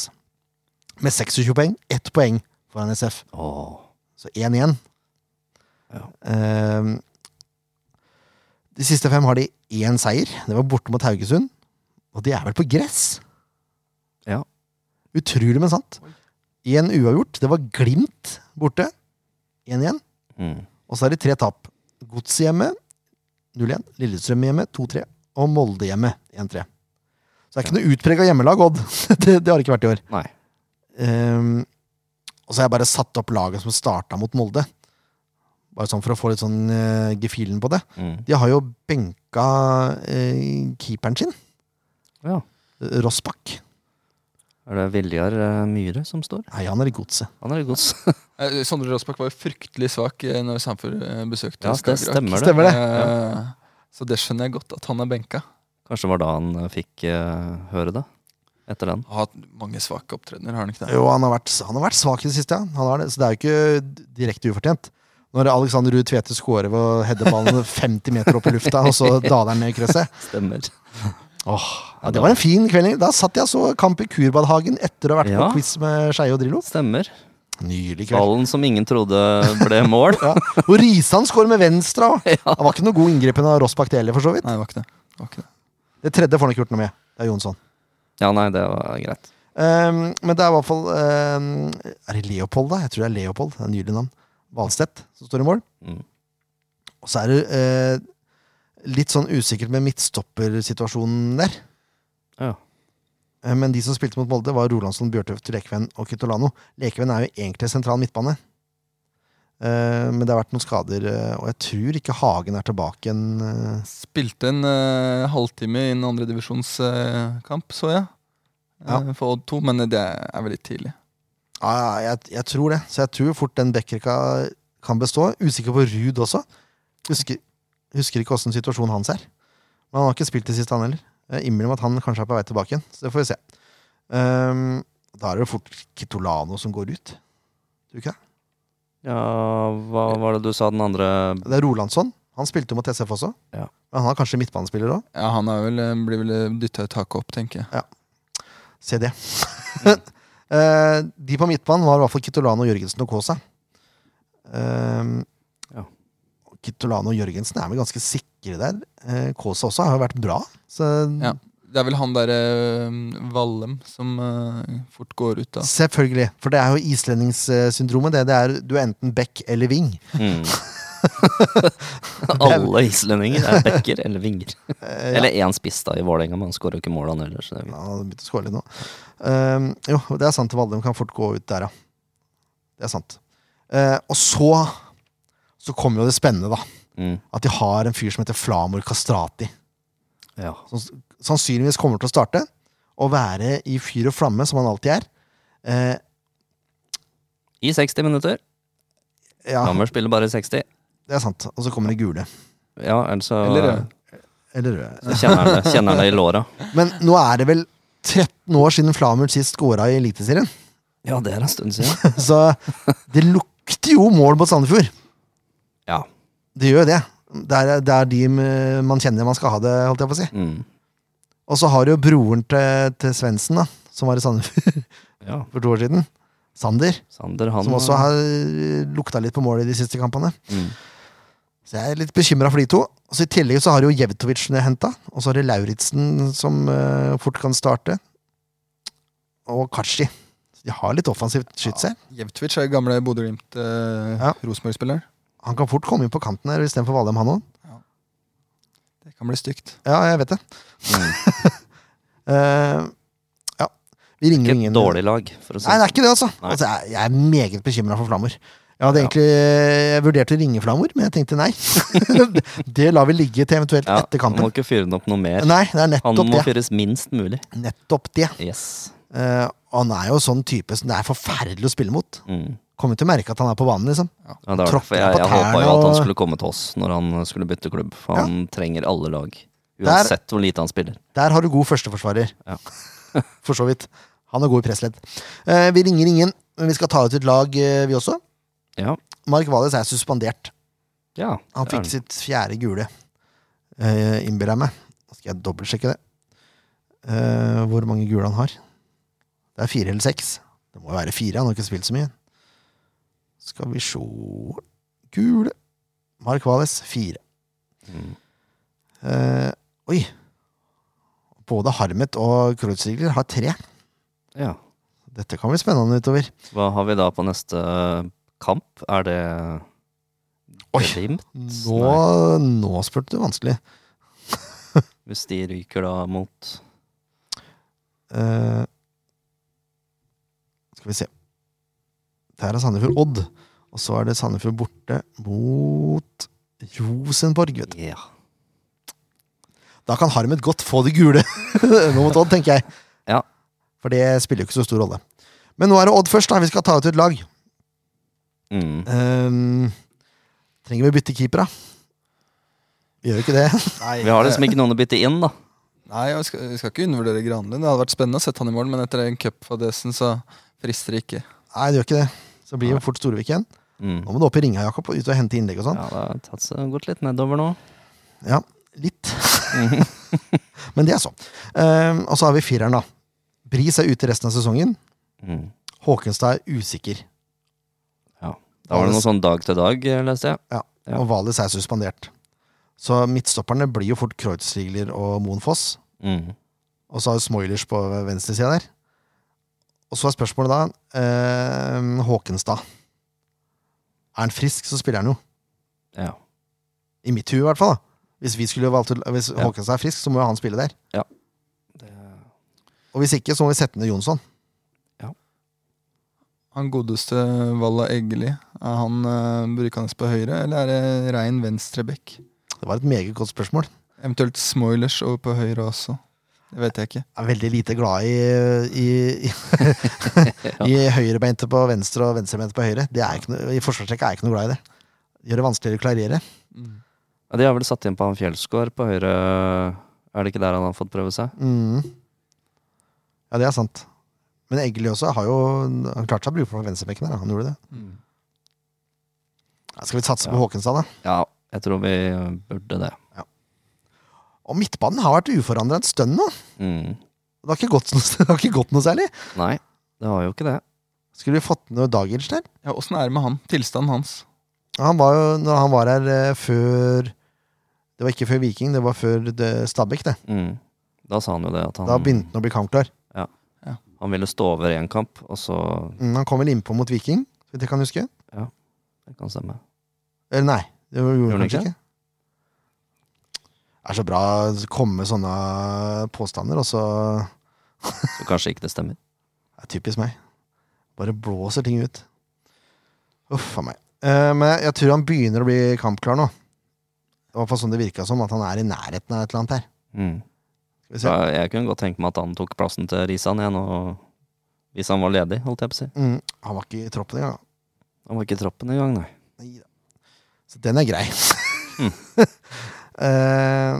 [SPEAKER 1] med 26 poeng. Ett poeng foran SF.
[SPEAKER 2] Åh.
[SPEAKER 1] Så 1 igjen.
[SPEAKER 2] Ja.
[SPEAKER 1] Ehm, de siste fem har de én seier. Det var borte mot Haugesund. Og de er vel på gress?
[SPEAKER 2] Ja.
[SPEAKER 1] Utrolig, men sant. Én uavgjort. Det var Glimt borte. 1 igjen.
[SPEAKER 2] Mm.
[SPEAKER 1] Og så er det tre tap. Godset hjemme 0-1. Lillestrøm hjemme 2-3. Og Molde hjemme 1-3. Så det er ikke noe utprega hjemmelag, Odd. det, det har det ikke vært i år.
[SPEAKER 2] Nei.
[SPEAKER 1] Ehm, og så har jeg bare satt opp laget som starta mot Molde. Bare sånn for å få litt sånn eh, gefühlen på det.
[SPEAKER 2] Mm.
[SPEAKER 1] De har jo benka eh, keeperen sin,
[SPEAKER 2] Ja.
[SPEAKER 1] eh, Rossbakk.
[SPEAKER 2] Er det Viljar eh, Myhre som står?
[SPEAKER 1] Nei, han er i godset.
[SPEAKER 2] Han er i gods.
[SPEAKER 3] Eh, Sondre Rossbakk var jo fryktelig svak eh, når Samfjord eh, besøkte
[SPEAKER 2] Ja, det
[SPEAKER 3] Skagerrak.
[SPEAKER 2] stemmer det.
[SPEAKER 1] Stemmer det.
[SPEAKER 3] Eh, Så det skjønner jeg godt, at han er benka.
[SPEAKER 2] Kanskje det var da han eh, fikk eh, høre det? Etter den.
[SPEAKER 3] Har hatt mange svake opptredener, har han ikke det?
[SPEAKER 1] Jo, han har vært, han har vært svak i det siste, ja. Han har det, så det er jo ikke direkte ufortjent. Når Alexander Ruud Tvedte scorer ved å heade ballen 50 meter opp i lufta, og så daler han ned i krysset.
[SPEAKER 2] Stemmer.
[SPEAKER 1] Ja, det var en fin kveld. Da satt jeg og så kamp i Kurbadhagen etter å ha vært
[SPEAKER 2] Ja.
[SPEAKER 1] på quiz med Skeie og Drillo.
[SPEAKER 2] Stemmer.
[SPEAKER 1] Nydelig kveld.
[SPEAKER 2] Ballen som ingen trodde ble mål.
[SPEAKER 1] Ja. Og Risan skårer med venstre òg. Det var ikke noe god inngripen av Rossbakk det heller, for så vidt.
[SPEAKER 3] Nei, det var ikke det. det, var ikke det.
[SPEAKER 1] Det tredje får han ikke gjort noe med. Det er Jonsson.
[SPEAKER 2] Ja, nei, det var greit.
[SPEAKER 1] Ehm, men det er i hvert fall ehm, Er det Leopold, da? Jeg tror det er Leopold. Det er et Nydelig navn. Valstedt som står i mål.
[SPEAKER 2] Mm.
[SPEAKER 1] Og så er det eh, litt sånn usikkert med midtstoppersituasjonen der.
[SPEAKER 2] Ja.
[SPEAKER 1] Eh, Men de som spilte mot Molde, var Rolandsson, Bjørtuft, Lekeven og Kitolano. Lekeven er jo egentlig sentral midtbane. Eh, Men det har vært noen skader, eh, og jeg tror ikke Hagen er tilbake igjen. eh.
[SPEAKER 3] Spilte en eh, halvtime i en andredivisjonskamp, så jeg.
[SPEAKER 1] Ja.
[SPEAKER 3] Eh, For Odd 2, men det er veldig tidlig.
[SPEAKER 1] Ja, ja, jeg, jeg tror det. Så jeg tror fort den Bekkerka kan bestå. Usikker på Ruud også. Husker, husker ikke åssen situasjonen hans er. Men han har ikke spilt det siste, han heller. Jeg innbiller meg at han kanskje er på vei tilbake igjen. Så det får vi se. Ehm, da er det jo fort Kitolano som går ut. Tror du ikke det?
[SPEAKER 2] Ja, hva var det du sa den andre
[SPEAKER 1] Det er Rolandsson. Han spilte jo mot SF også.
[SPEAKER 2] Ja.
[SPEAKER 1] Men han er kanskje midtbanespiller òg.
[SPEAKER 3] Ja, Han er vel, eh, blir vel dytta i taket opp, tenker jeg.
[SPEAKER 1] Se det. Eh, de på midtbanen var i hvert fall Kitolano, Jørgensen og Kaasa. Ehm,
[SPEAKER 2] Ja.
[SPEAKER 1] Kitolano og Jørgensen er vel ganske sikre der. Uh, Kaasa også har jo vært bra. Så
[SPEAKER 3] Ja. Det er vel han derre Vallem som eh, fort går ut, da.
[SPEAKER 1] selvfølgelig. For det er jo islendingssyndromet. Det, det er, du er enten back eller wing.
[SPEAKER 2] mm. Alle islendinger er bekker eller vinger.
[SPEAKER 1] Eh,
[SPEAKER 2] Eller én spiss, da, i Vålerenga, men han skårer jo ikke mål, han heller. Så det er
[SPEAKER 1] Ja, han begynte å skåre litt nå. Ehm, jo, det er sant. Valdem kan fort gå ut der, ja. Det er sant. Eh, og så Så kommer jo det spennende, da.
[SPEAKER 2] Mm.
[SPEAKER 1] At de har en fyr som heter Flamor Kastrati.
[SPEAKER 2] Ja.
[SPEAKER 1] Som s- sannsynligvis kommer til å starte. Og være i fyr og flamme, som han alltid er. Eh,
[SPEAKER 2] I 60 minutter.
[SPEAKER 1] ja,
[SPEAKER 2] Hammer spiller bare 60.
[SPEAKER 1] det er sant. Og så kommer det gule.
[SPEAKER 2] Ja, altså ellers så
[SPEAKER 3] Eller rød.
[SPEAKER 1] Eller røde.
[SPEAKER 2] så kjenner han det, kjenner han det i låra.
[SPEAKER 1] Men nå er det vel 13 år siden Flamur sist scora i Eliteserien.
[SPEAKER 2] Ja, det er en stund siden.
[SPEAKER 1] Så det lukter jo mål mot Sandefjord.
[SPEAKER 2] Ja.
[SPEAKER 1] Det gjør jo det. Det er, det er de eh, man kjenner man skal ha det, holdt jeg på å si.
[SPEAKER 2] Mm.
[SPEAKER 1] Og så har du jo broren til, til Svendsen, da, som var i Sandefjord
[SPEAKER 2] ja.
[SPEAKER 1] for to år siden. Sander,
[SPEAKER 2] Sander, han
[SPEAKER 1] som også har eh, lukta litt på målet i de siste kampene.
[SPEAKER 2] mm.
[SPEAKER 1] Så jeg er litt bekymra for de to. Og så I tillegg så har jo Jevtovic henta, og så har de Lauritzen, som eh, fort kan starte. Og Kachi. Så De har litt offensivt skyts her.
[SPEAKER 3] Jevtvic er gamle eh, Bodø-Glimt-Rosenborg-spiller.
[SPEAKER 1] Ja. Han kan fort komme inn på kanten her istedenfor Valheim, han òg.
[SPEAKER 3] Det kan bli stygt.
[SPEAKER 1] Ja, jeg vet det.
[SPEAKER 2] Mm.
[SPEAKER 1] Eh, ja. Vi ringer
[SPEAKER 2] Ikke
[SPEAKER 1] jo ingen
[SPEAKER 2] et dårlig lag, for å si
[SPEAKER 1] Nei, det er ikke det, altså.
[SPEAKER 2] Nei.
[SPEAKER 1] altså jeg, jeg er meget bekymra for Flammer. Jeg hadde
[SPEAKER 2] Ja.
[SPEAKER 1] egentlig jeg vurderte å ringe Flammer, men jeg tenkte nei. det lar vi ligge til eventuelt
[SPEAKER 2] Ja,
[SPEAKER 1] etter
[SPEAKER 2] han
[SPEAKER 1] kampen.
[SPEAKER 2] må ikke fyre den opp noe mer.
[SPEAKER 1] Nei, det er
[SPEAKER 2] Han
[SPEAKER 1] nettopp
[SPEAKER 2] må
[SPEAKER 1] det.
[SPEAKER 2] fyres minst mulig.
[SPEAKER 1] Nettopp det.
[SPEAKER 2] Yes.
[SPEAKER 1] Eh, og han er jo sånn type som det er forferdelig å spille mot.
[SPEAKER 2] Mm.
[SPEAKER 1] Kommer til å merke at han er på banen, liksom.
[SPEAKER 2] Ja, det var
[SPEAKER 1] Tråkker
[SPEAKER 2] derfor jeg,
[SPEAKER 1] på
[SPEAKER 2] jeg
[SPEAKER 1] tærne
[SPEAKER 2] håpa jo at han
[SPEAKER 1] og-
[SPEAKER 2] skulle komme til oss når han skulle bytte klubb. For
[SPEAKER 1] Ja.
[SPEAKER 2] han trenger alle lag. Uansett hvor lite han spiller.
[SPEAKER 1] Der har du god førsteforsvarer.
[SPEAKER 2] Ja.
[SPEAKER 1] For så vidt. Han er god i pressledd. Eh, vi ringer ingen, men vi skal ta ut et lag, eh, vi også.
[SPEAKER 2] Ja.
[SPEAKER 1] Mark Valles er suspendert.
[SPEAKER 2] ja
[SPEAKER 1] Han
[SPEAKER 2] det er
[SPEAKER 1] fikk
[SPEAKER 2] det.
[SPEAKER 1] sitt fjerde gule, uh, innbiller jeg meg. Da skal jeg dobbeltsjekke det. Eh, hvor mange gule han har. Det er fire eller seks. Det må jo være fire, han har ikke spilt så mye. Skal vi sjå Gule. Mark Valles, fire.
[SPEAKER 2] Mm.
[SPEAKER 1] Eh, oi. Både Harmet og Kreuzrigler har tre.
[SPEAKER 2] ja.
[SPEAKER 1] Dette kan bli spennende utover.
[SPEAKER 2] Hva har vi da på neste kamp? Er det
[SPEAKER 1] Oi.
[SPEAKER 2] Glimt?
[SPEAKER 1] Nå, nå spurte du vanskelig.
[SPEAKER 2] Hvis de ryker da mot
[SPEAKER 1] Eh, skal vi se. Der er Sandefjord Odd. Og så er det Sandefjord borte mot Rosenborg. Vet du.
[SPEAKER 2] Ja.
[SPEAKER 1] Da kan Harmet godt få det gule nå mot Odd, tenker jeg.
[SPEAKER 2] Ja.
[SPEAKER 1] For det spiller jo ikke så stor rolle. Men nå er det Odd først. da Vi skal ta ut et lag.
[SPEAKER 2] Mm.
[SPEAKER 1] Eh, trenger vi bytte keeper, da? Vi gjør jo ikke det.
[SPEAKER 3] Nei,
[SPEAKER 2] Vi har liksom ikke noen å bytte inn, da.
[SPEAKER 3] Nei, jeg skal, jeg skal ikke undervurdere Granlund. Det hadde vært spennende å sette han i mål, men etter den cupfadesen så frister det ikke.
[SPEAKER 1] Nei, det gjør ikke det. Så blir jo fort Storevik igjen.
[SPEAKER 2] Mm.
[SPEAKER 1] Nå må du opp i ringa, Jakob, og ut og hente innlegg og sånn.
[SPEAKER 2] Ja, det har tatt seg gått litt nedover nå.
[SPEAKER 1] Ja, litt. Men det er sånn. Ehm, og så har vi fireren, da. Bris er ute resten av sesongen.
[SPEAKER 2] Mm.
[SPEAKER 1] Håkenstad er usikker.
[SPEAKER 2] Da var det noe sånn dag til dag, eh, leste jeg. Ja.
[SPEAKER 1] Og Valis er suspendert. Så midtstopperne blir jo fort Kreuzrigler og Moen Foss.
[SPEAKER 2] Mm.
[SPEAKER 1] Og så har du Smoilers på venstresida der. Og så er spørsmålet da ehm, Håkenstad. Er han frisk, så spiller han jo.
[SPEAKER 2] Ja.
[SPEAKER 1] I mitt hue, i hvert fall. da Hvis, vi skulle valgt, å- hvis
[SPEAKER 2] Ja.
[SPEAKER 1] Håkenstad er frisk, så må jo han spille der.
[SPEAKER 2] Det,
[SPEAKER 1] Og hvis ikke, så må vi sette ned Jonsson.
[SPEAKER 3] Han godeste Valla Eggeli, er han eh, brukende på høyre, eller er det rein venstreback?
[SPEAKER 1] Det var et meget godt spørsmål.
[SPEAKER 3] Eventuelt Smoilers over på høyre også. Det vet jeg ikke.
[SPEAKER 1] er veldig lite glad i, i, i, i høyrebeinte på venstre og venstrebeinte på høyre. Det er ikke noe, I forsvarstrekket er jeg ikke noe glad i det. Gjør det vanskeligere å klarere.
[SPEAKER 2] ja, de har vel satt inn på han Fjellsgård på høyre Er det ikke der han har fått prøve seg?
[SPEAKER 1] Mm. Ja, det er sant. Men Eggeli også har jo han klarte seg å bruke på venstrebekken der. da. Han gjorde det.
[SPEAKER 3] Mm.
[SPEAKER 1] Ja, Skal vi satse på
[SPEAKER 2] Ja.
[SPEAKER 1] Håkenstad, da?
[SPEAKER 2] Ja, jeg tror vi burde det.
[SPEAKER 1] Og midtbanen har vært uforandra en stund nå.
[SPEAKER 2] Mm.
[SPEAKER 1] Det har ikke gått, noe- det har ikke gått noe særlig.
[SPEAKER 2] Nei, det har jo ikke det.
[SPEAKER 1] Skulle vi fått ned Dagic der?
[SPEAKER 3] Ja, Åssen er det med han? Tilstanden hans?
[SPEAKER 1] Han var jo, når han var her eh, før Det var ikke før Viking, det var før eh, Stabæk, det.
[SPEAKER 2] Mm. Da sa han jo det, at
[SPEAKER 1] Da
[SPEAKER 2] han,
[SPEAKER 1] begynte han å bli kampklar.
[SPEAKER 2] han ville stå over én kamp, og så
[SPEAKER 1] Mm, han kom vel innpå mot Viking, så vidt jeg kan huske.
[SPEAKER 2] Det kan stemme.
[SPEAKER 1] Eller nei, det gjorde
[SPEAKER 2] Gjorde
[SPEAKER 1] han
[SPEAKER 2] han
[SPEAKER 1] kanskje
[SPEAKER 2] ikke?
[SPEAKER 1] ikke. Det er så bra å komme med sånne påstander, og så
[SPEAKER 2] Så kanskje ikke det stemmer.
[SPEAKER 1] det er typisk meg. Bare blåser ting ut. Uff a meg. Eh, men jeg tror han begynner å bli kampklar nå. Det var i hvert fall sånn det virka som, at han er i nærheten av et eller annet her.
[SPEAKER 2] Mm.
[SPEAKER 1] Skal vi
[SPEAKER 2] Så
[SPEAKER 1] se.
[SPEAKER 2] jeg kunne godt tenke meg at han tok plassen til Risan igjen, og hvis han var ledig, holdt jeg på å si.
[SPEAKER 1] Mm, han var ikke i troppen engang.
[SPEAKER 2] Han var ikke i troppen engang, nei.
[SPEAKER 1] Nei da. Så den er grei.
[SPEAKER 2] Mm.
[SPEAKER 1] Eh,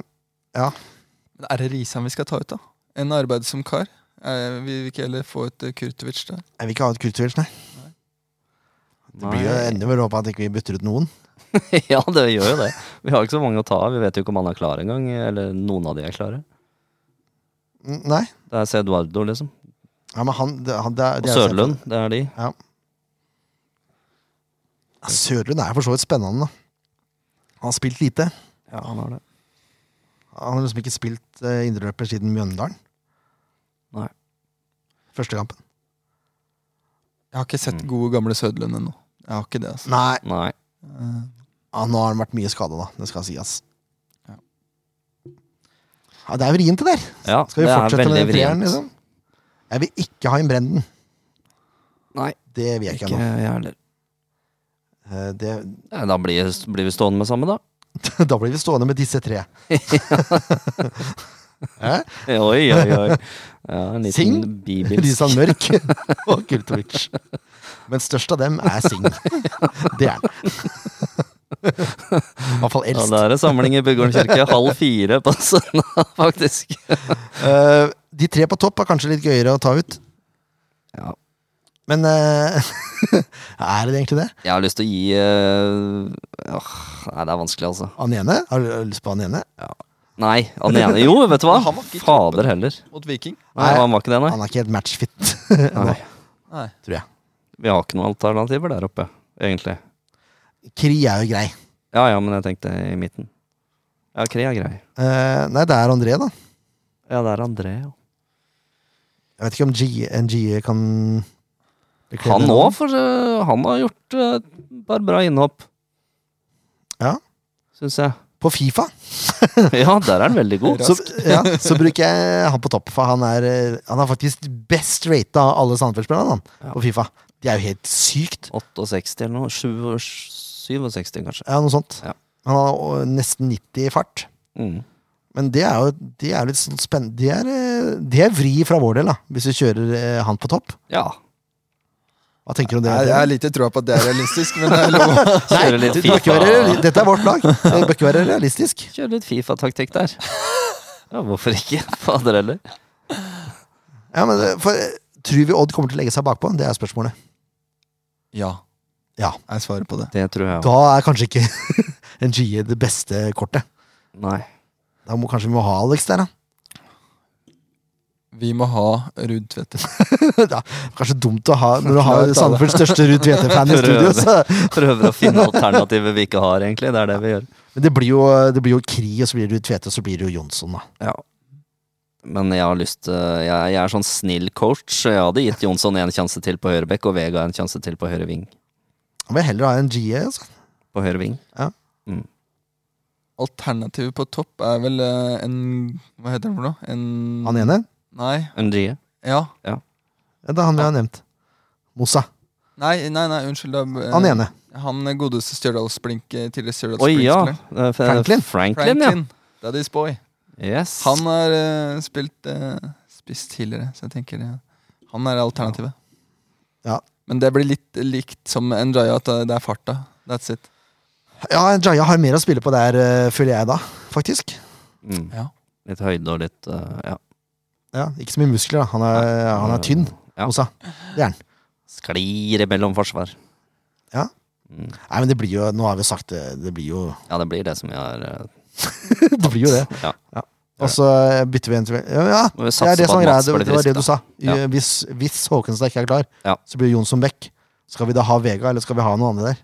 [SPEAKER 3] Men er det Risan vi skal ta ut, da? En arbeidsom kar? Eh, vi vil ikke heller få ut eh, Kurtovic der?
[SPEAKER 1] jeg vil ikke ha et Kurtovic, nei. Det blir jo
[SPEAKER 2] Nei.
[SPEAKER 1] ender vel opp at ikke vi ikke bytter ut noen.
[SPEAKER 2] ja, det gjør jo det. Vi har ikke så mange å ta av. Vi vet jo ikke om han er klar engang, eller noen av de er klare.
[SPEAKER 1] Mm, Nei.
[SPEAKER 2] Det er Ceduardo, liksom.
[SPEAKER 1] Ja, men han, det, han, det, er-
[SPEAKER 2] Og
[SPEAKER 1] det er-
[SPEAKER 2] Sørlund, det er de.
[SPEAKER 1] Ja, Sørlund er for så vidt spennende, da. Han har spilt lite.
[SPEAKER 2] Ja, han har det.
[SPEAKER 1] Han har liksom ikke spilt eh, indreløper siden Mjøndalen.
[SPEAKER 2] Nei.
[SPEAKER 1] Første kampen.
[SPEAKER 3] Jeg har ikke sett
[SPEAKER 2] Mm.
[SPEAKER 3] gode, gamle Sødlund ennå. Jeg har ikke det, altså.
[SPEAKER 1] Nei,
[SPEAKER 2] Nei.
[SPEAKER 3] Eh,
[SPEAKER 1] ja, nå har han vært mye skada, da. Det skal sies.
[SPEAKER 3] Ja.
[SPEAKER 1] Ja. det er vrient, det der.
[SPEAKER 2] Ja,
[SPEAKER 1] Skal vi
[SPEAKER 2] det er
[SPEAKER 1] fortsette med
[SPEAKER 2] veldig
[SPEAKER 1] den treeren,
[SPEAKER 2] vrient.
[SPEAKER 1] liksom? Jeg vil ikke ha inn Brenden.
[SPEAKER 2] Nei,
[SPEAKER 1] Det vil jeg
[SPEAKER 2] ikke
[SPEAKER 1] ikke
[SPEAKER 2] jeg
[SPEAKER 1] ennå.
[SPEAKER 2] heller.
[SPEAKER 1] Eh, det,
[SPEAKER 2] Ja, Da blir, blir vi stående med samme, da.
[SPEAKER 1] da blir vi stående med disse tre. Hæ?
[SPEAKER 2] Oi, oi, oi. Ja, en liten
[SPEAKER 1] Sing?
[SPEAKER 2] bibels.
[SPEAKER 1] Risan Mørk og Kurtovic. Men størst av dem er Sing. Det er han. I hvert fall
[SPEAKER 2] Ja,
[SPEAKER 1] eldst.
[SPEAKER 2] det er en samling i Bygården kirke halv fire på søndag, faktisk.
[SPEAKER 1] Eh, de tre på topp er kanskje litt gøyere å ta ut.
[SPEAKER 2] Ja.
[SPEAKER 1] Men eh, er det egentlig det?
[SPEAKER 2] Jeg har lyst til å gi eh, åh, Nei, det er vanskelig, altså.
[SPEAKER 1] Han ene? Har du lyst på han ene?
[SPEAKER 2] Nei, han ene Jo, vet du hva?
[SPEAKER 3] Han var ikke i troppen.
[SPEAKER 2] Fader heller.
[SPEAKER 3] mot Viking.
[SPEAKER 2] Nei,
[SPEAKER 1] Nei.
[SPEAKER 2] han var ikke det, nei.
[SPEAKER 1] Han er ikke helt matchfit, nå,
[SPEAKER 2] nei.
[SPEAKER 3] Nei.
[SPEAKER 1] tror jeg.
[SPEAKER 2] Vi har ikke noen alternativer der oppe, egentlig.
[SPEAKER 1] Kri er jo grei.
[SPEAKER 2] Ja ja, men jeg tenkte i midten. Ja, Kri er grei.
[SPEAKER 1] Eh, nei, det er André, da.
[SPEAKER 2] Ja, det er André, ja.
[SPEAKER 1] Jeg vet ikke om G, en G E kan bekle
[SPEAKER 2] Han
[SPEAKER 1] det
[SPEAKER 2] òg,
[SPEAKER 1] nå.
[SPEAKER 2] for eh, han har gjort eh, et par bra innhopp.
[SPEAKER 1] Ja.
[SPEAKER 2] Syns jeg.
[SPEAKER 1] På Fifa
[SPEAKER 2] Ja, der er han veldig god.
[SPEAKER 1] så, ja, så bruker jeg han på topp, for han er, eh, han er faktisk best rata av alle Sandefjord-spillerne han,
[SPEAKER 2] Ja.
[SPEAKER 1] på Fifa. De er jo helt sykt.
[SPEAKER 2] 68 eller noe. 7, 67, kanskje.
[SPEAKER 1] Ja, noe sånt.
[SPEAKER 2] Ja.
[SPEAKER 1] Han har eh, nesten 90 i fart.
[SPEAKER 2] Mm.
[SPEAKER 1] Men det er jo det er litt sånn spennende Det er, eh, det er vri fra vår del, da, hvis vi kjører eh, han på topp.
[SPEAKER 2] Ja.
[SPEAKER 1] Hva tenker du om det?
[SPEAKER 3] Jeg, jeg har lite troa på at det er realistisk, men det er lov.
[SPEAKER 2] Kjøre litt
[SPEAKER 1] Det bør ikke være,
[SPEAKER 2] FIFA-
[SPEAKER 1] reali- dette er vårt lag. Det bør ikke være realistisk.
[SPEAKER 2] Kjøre litt Fifa-taktikk der. Ja, hvorfor ikke? Fader heller.
[SPEAKER 1] Ja, men eh, for, eh, Tror vi Odd kommer til å legge seg bakpå? Det er spørsmålet.
[SPEAKER 3] Ja.
[SPEAKER 1] Ja.
[SPEAKER 3] Jeg svarer på det.
[SPEAKER 2] Det tror jeg
[SPEAKER 1] Da er kanskje ikke en GE det beste kortet.
[SPEAKER 2] Nei.
[SPEAKER 1] Da må kanskje vi må ha Alex der, da.
[SPEAKER 3] Vi må ha Ruud Tvedte.
[SPEAKER 1] Det er kanskje dumt å ha når du har
[SPEAKER 3] Klart, da.
[SPEAKER 1] Sandefjords største Ruud Tvete-fan i studio. Så.
[SPEAKER 2] Prøver å finne alternativer vi ikke har, egentlig. Det er det vi gjør.
[SPEAKER 1] Men det blir, jo, det blir jo Kri, og så blir det Ruud Tvete, og så blir det jo Jonsson, da.
[SPEAKER 2] Ja. Men jeg har lyst til jeg, jeg er sånn snill coach. så Jeg hadde gitt Jonsson en sjanse til på høyrebekk og Vega en sjanse til på høyre ving.
[SPEAKER 1] Han vil heller ha en GE. Altså.
[SPEAKER 2] På høyre ving.
[SPEAKER 3] Alternativet på topp er vel eh, en Hva heter den for noe? En
[SPEAKER 1] Han ene?
[SPEAKER 3] Nei.
[SPEAKER 2] Undrie.
[SPEAKER 3] Ja.
[SPEAKER 1] Ja, det er han vi har nevnt. Moussa.
[SPEAKER 3] Nei, nei, nei unnskyld. Da, eh,
[SPEAKER 1] Han ene.
[SPEAKER 3] Han godeste Stjørdals-Blink. eh, Tidligere Stjørdals
[SPEAKER 2] Oi, ja.
[SPEAKER 3] Blink-spiller.
[SPEAKER 2] Eh, F-
[SPEAKER 1] Franklin.
[SPEAKER 2] Franklin, ja.
[SPEAKER 3] Franklin. Daddy's boy.
[SPEAKER 2] Yes.
[SPEAKER 3] Han har eh, spilt eh, spiss tidligere, så jeg tenker eh, han er alternativet.
[SPEAKER 1] Ja.
[SPEAKER 3] Men det blir litt likt som Njaya, at det er farta. That's it.
[SPEAKER 1] Ja, Jaya har mer å spille på der, eh, føler jeg da, faktisk.
[SPEAKER 2] Mm.
[SPEAKER 3] Ja.
[SPEAKER 2] Litt høyde og litt eh, Ja.
[SPEAKER 1] Ja, ikke så mye muskler, da. Han er, han er tynn,
[SPEAKER 2] Ja.
[SPEAKER 1] Moussa. Det er han.
[SPEAKER 2] Eh, Sklir imellom forsvar.
[SPEAKER 1] Ja.
[SPEAKER 2] Mm.
[SPEAKER 1] Nei, men det blir jo Nå har vi jo sagt det, det blir jo
[SPEAKER 2] Ja, det blir det som vi har eh,
[SPEAKER 1] Det blir jo det.
[SPEAKER 2] Ja.
[SPEAKER 1] Og så bytter vi en til Ja, ja
[SPEAKER 2] Må
[SPEAKER 1] det
[SPEAKER 2] vi
[SPEAKER 1] er
[SPEAKER 2] satse
[SPEAKER 1] det
[SPEAKER 2] på
[SPEAKER 1] som er
[SPEAKER 2] at
[SPEAKER 1] greia.
[SPEAKER 2] Mats
[SPEAKER 1] Det,
[SPEAKER 2] blir
[SPEAKER 1] det var
[SPEAKER 2] frisk,
[SPEAKER 1] det du
[SPEAKER 2] da.
[SPEAKER 1] sa. I-
[SPEAKER 2] Ja.
[SPEAKER 1] Hvis, hvis Håkenstad ikke er klar,
[SPEAKER 2] Ja.
[SPEAKER 1] så blir Jonsson Beck. Skal vi da ha Vega, eller skal vi ha noen andre der?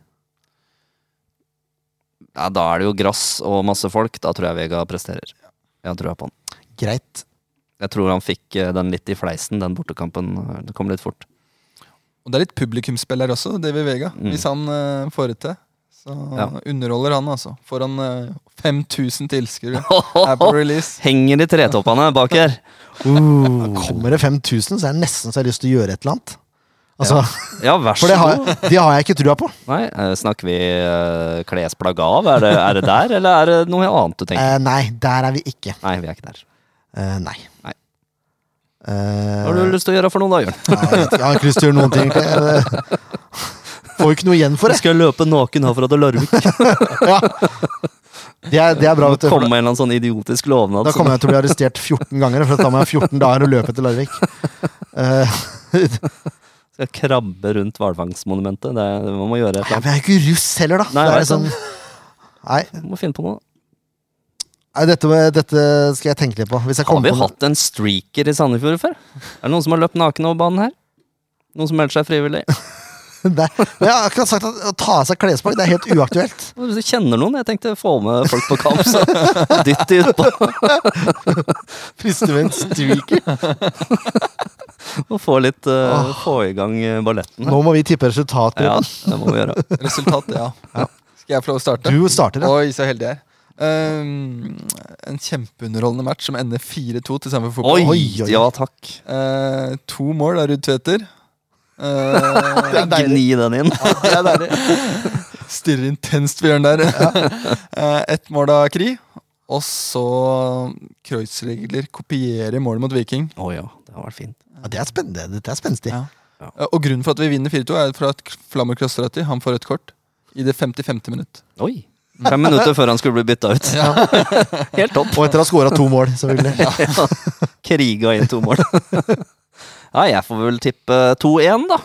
[SPEAKER 2] Ja, da er det jo grass og masse folk. Da tror jeg Vega presterer. Jeg har trua på han.
[SPEAKER 1] Greit.
[SPEAKER 2] Jeg tror han fikk eh, den litt i fleisen, den bortekampen. Det kom litt fort.
[SPEAKER 3] Og det er litt publikumsspill her også, David Vega.
[SPEAKER 2] Mm.
[SPEAKER 3] Hvis han eh, får det til, så
[SPEAKER 2] Ja.
[SPEAKER 3] underholder han, altså. Foran uh, 5000 tilskuere er på release.
[SPEAKER 2] Henger i tretoppene bak her!
[SPEAKER 1] Kommer det 5000, så er det nesten så jeg har lyst til å gjøre et eller annet. Altså,
[SPEAKER 2] Ja, vær
[SPEAKER 1] For
[SPEAKER 2] så
[SPEAKER 1] det har,
[SPEAKER 2] god.
[SPEAKER 1] det har jeg ikke trua på.
[SPEAKER 2] Nei, eh, snakker vi eh, klesplagg av? Er det, er det der, eller er det noe annet du tenker?
[SPEAKER 1] Eh, nei, der er vi ikke.
[SPEAKER 2] Nei, vi er ikke der.
[SPEAKER 1] Eh, nei.
[SPEAKER 2] Nei.
[SPEAKER 1] Eh,
[SPEAKER 2] Hva har du lyst til å gjøre for noen da, Jørn?
[SPEAKER 1] jeg, vet ikke. jeg har ikke lyst til å gjøre noen ting, egentlig. Eh, Får jo ikke noe igjen for det.
[SPEAKER 2] skal løpe naken herfra til Larvik.
[SPEAKER 1] Ja. Det, er, det er bra. Vet du, for
[SPEAKER 2] Komme med en eller annen sånn idiotisk lovnad.
[SPEAKER 1] Da kommer jeg til å bli arrestert 14 ganger, for det tar meg 14 dager å løpe til Larvik. Eh,
[SPEAKER 2] som Skal krabbe rundt hvalfangstmonumentet. Det er- Man må gjøre et
[SPEAKER 1] ja,
[SPEAKER 2] eller
[SPEAKER 1] men jeg er jo ikke russ heller, da.
[SPEAKER 2] Nei,
[SPEAKER 1] det
[SPEAKER 2] jeg
[SPEAKER 1] er
[SPEAKER 2] vet
[SPEAKER 1] sånn, nei,
[SPEAKER 2] annet. Må finne på noe.
[SPEAKER 1] nei dette, dette skal jeg tenke litt på. Hvis jeg
[SPEAKER 2] Har
[SPEAKER 1] kommer på
[SPEAKER 2] vi
[SPEAKER 1] noe.
[SPEAKER 2] hatt en streaker i Sandefjord før? Er det noen som har løpt naken over banen her? Noen som melder seg frivillig?
[SPEAKER 1] Nei, men jeg har akkurat sagt at å ta av seg klesplagg det er helt uaktuelt.
[SPEAKER 2] Hvis du kjenner noen, jeg tenkte få med folk på kamp, så dytt de utpå
[SPEAKER 1] Frister med en streaker.
[SPEAKER 2] og få litt eh, Få i gang eh, balletten. her.
[SPEAKER 1] Nå må vi tippe resultatet.
[SPEAKER 2] Ja, det må vi gjøre.
[SPEAKER 3] Resultat, ja. Skal jeg få lov å starte?
[SPEAKER 1] Du starter, ja.
[SPEAKER 3] Oi, så heldig jeg er. Um, en kjempeunderholdende match som ender 4-2 til Sandefjord
[SPEAKER 2] Oi,
[SPEAKER 3] fotball.
[SPEAKER 1] Oi, oi.
[SPEAKER 2] ja takk.
[SPEAKER 3] Eh, to mål av Ruud Tveter. Eh,
[SPEAKER 2] Gni den inn.
[SPEAKER 3] Stirrer intenst på Jørn der. Eh, Ett mål av Kri. Og så Kreuzregler kopierer målet mot Viking.
[SPEAKER 2] Å ja, det har vært fint.
[SPEAKER 1] ja. Det er spennende. Dette er spenstig.
[SPEAKER 3] Ja. Eh, Og grunnen for at vi vinner 4-2, er for at Flammer Klosterati han får rødt kort i det 50-50 minutt.
[SPEAKER 2] Oi. Fem minutter før han skulle bli bytta ut. Helt topp.
[SPEAKER 1] Og etter å ha scora to mål, selvfølgelig.
[SPEAKER 2] Kriga inn to mål. Ja, jeg får vel tippe 2-1, da.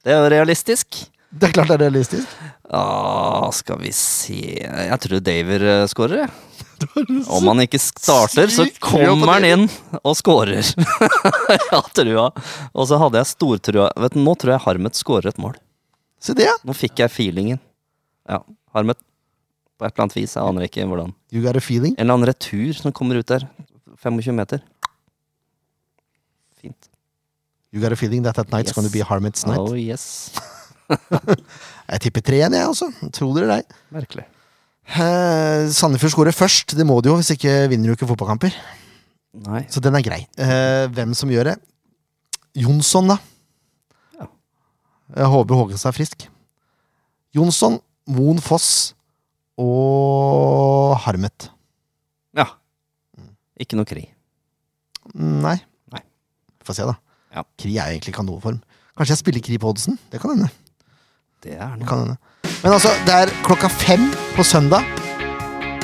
[SPEAKER 2] Det er jo realistisk.
[SPEAKER 1] Det er klart det er realistisk.
[SPEAKER 2] Ja, skal vi se Jeg tror Daver eh, skårer, jeg. Om han ikke starter, så
[SPEAKER 1] sykt trua på
[SPEAKER 2] kommer han inn og skårer. ja, trua. Og så hadde jeg stortrua. Vet du, nå tror jeg Harmet skårer et mål.
[SPEAKER 1] Se det, ja.
[SPEAKER 2] Nå fikk jeg feelingen. Ja, Harmet. På et eller annet vis. Jeg aner ikke hvordan.
[SPEAKER 1] You got a feeling.
[SPEAKER 2] En eller annen retur som kommer ut der. 25 meter. Fint.
[SPEAKER 1] You got a feeling that at night yes.
[SPEAKER 2] Yes.
[SPEAKER 1] gonna be Harmet's night.
[SPEAKER 2] Oh yes.
[SPEAKER 1] Jeg tipper 3-1, jeg, altså. Tro det eller ei.
[SPEAKER 2] Merkelig.
[SPEAKER 1] Eh, Sandefjord skårer først. Det må de jo, hvis ikke vinner du ikke fotballkamper.
[SPEAKER 2] Nei.
[SPEAKER 1] Så den er grei. Eh, hvem som gjør det? Jonsson, da.
[SPEAKER 2] Ja.
[SPEAKER 1] Jeg håper Hågenstad er frisk. Jonsson, Moen Foss og Harmet.
[SPEAKER 2] Ja. Ikke noe krig.
[SPEAKER 1] Nei.
[SPEAKER 2] Nei.
[SPEAKER 1] Får se, da.
[SPEAKER 2] Ja.
[SPEAKER 1] Kri er jo egentlig ikke av noen form. Kanskje jeg spiller Kri på oddsen? Det kan hende.
[SPEAKER 2] Det er
[SPEAKER 1] Det
[SPEAKER 2] noe.
[SPEAKER 1] kan hende. Men altså, det er klokka fem på søndag.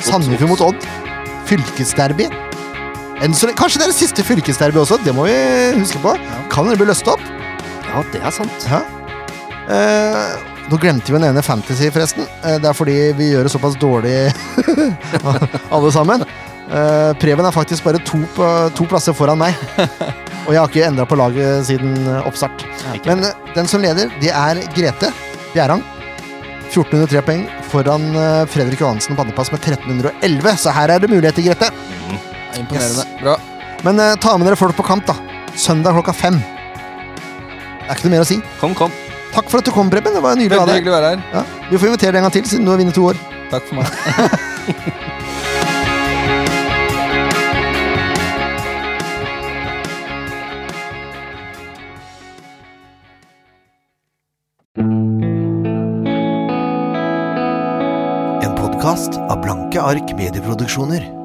[SPEAKER 1] Sandefjord mot Odd. Fylkesderby. Enn så lenge- Kanskje det er det siste fylkesderby også, det må vi huske på. Kan det bli løst opp?
[SPEAKER 2] Ja, det er sant.
[SPEAKER 1] Ja. Eh, nå glemte vi å nevne Fantasy, forresten. Eh, det er fordi vi gjør det såpass dårlig, alle sammen. Eh, Preben er faktisk bare to, på, to plasser foran meg. Og jeg har ikke endra på laget siden eh, oppstart.
[SPEAKER 2] Ikke.
[SPEAKER 1] Men eh, den som leder, det er Grete Bjerang. 1403 poeng foran eh, Fredrik Johansen Bannepass med 1311, så her er det muligheter, Grete.
[SPEAKER 3] Det er Imponerende. Bra.
[SPEAKER 1] Men eh, ta med dere folk på kamp, da. Søndag klokka fem. Det er ikke noe mer å si.
[SPEAKER 2] Kom, kom.
[SPEAKER 1] Takk for at du kom, Preben. Det var nydelig å ha
[SPEAKER 3] Veldig
[SPEAKER 1] deg.
[SPEAKER 3] hyggelig å være her.
[SPEAKER 1] Ja, vi får invitere deg en gang til, siden du har vunnet to år.
[SPEAKER 3] Takk for meg.
[SPEAKER 5] En podkast av Blanke ark medieproduksjoner.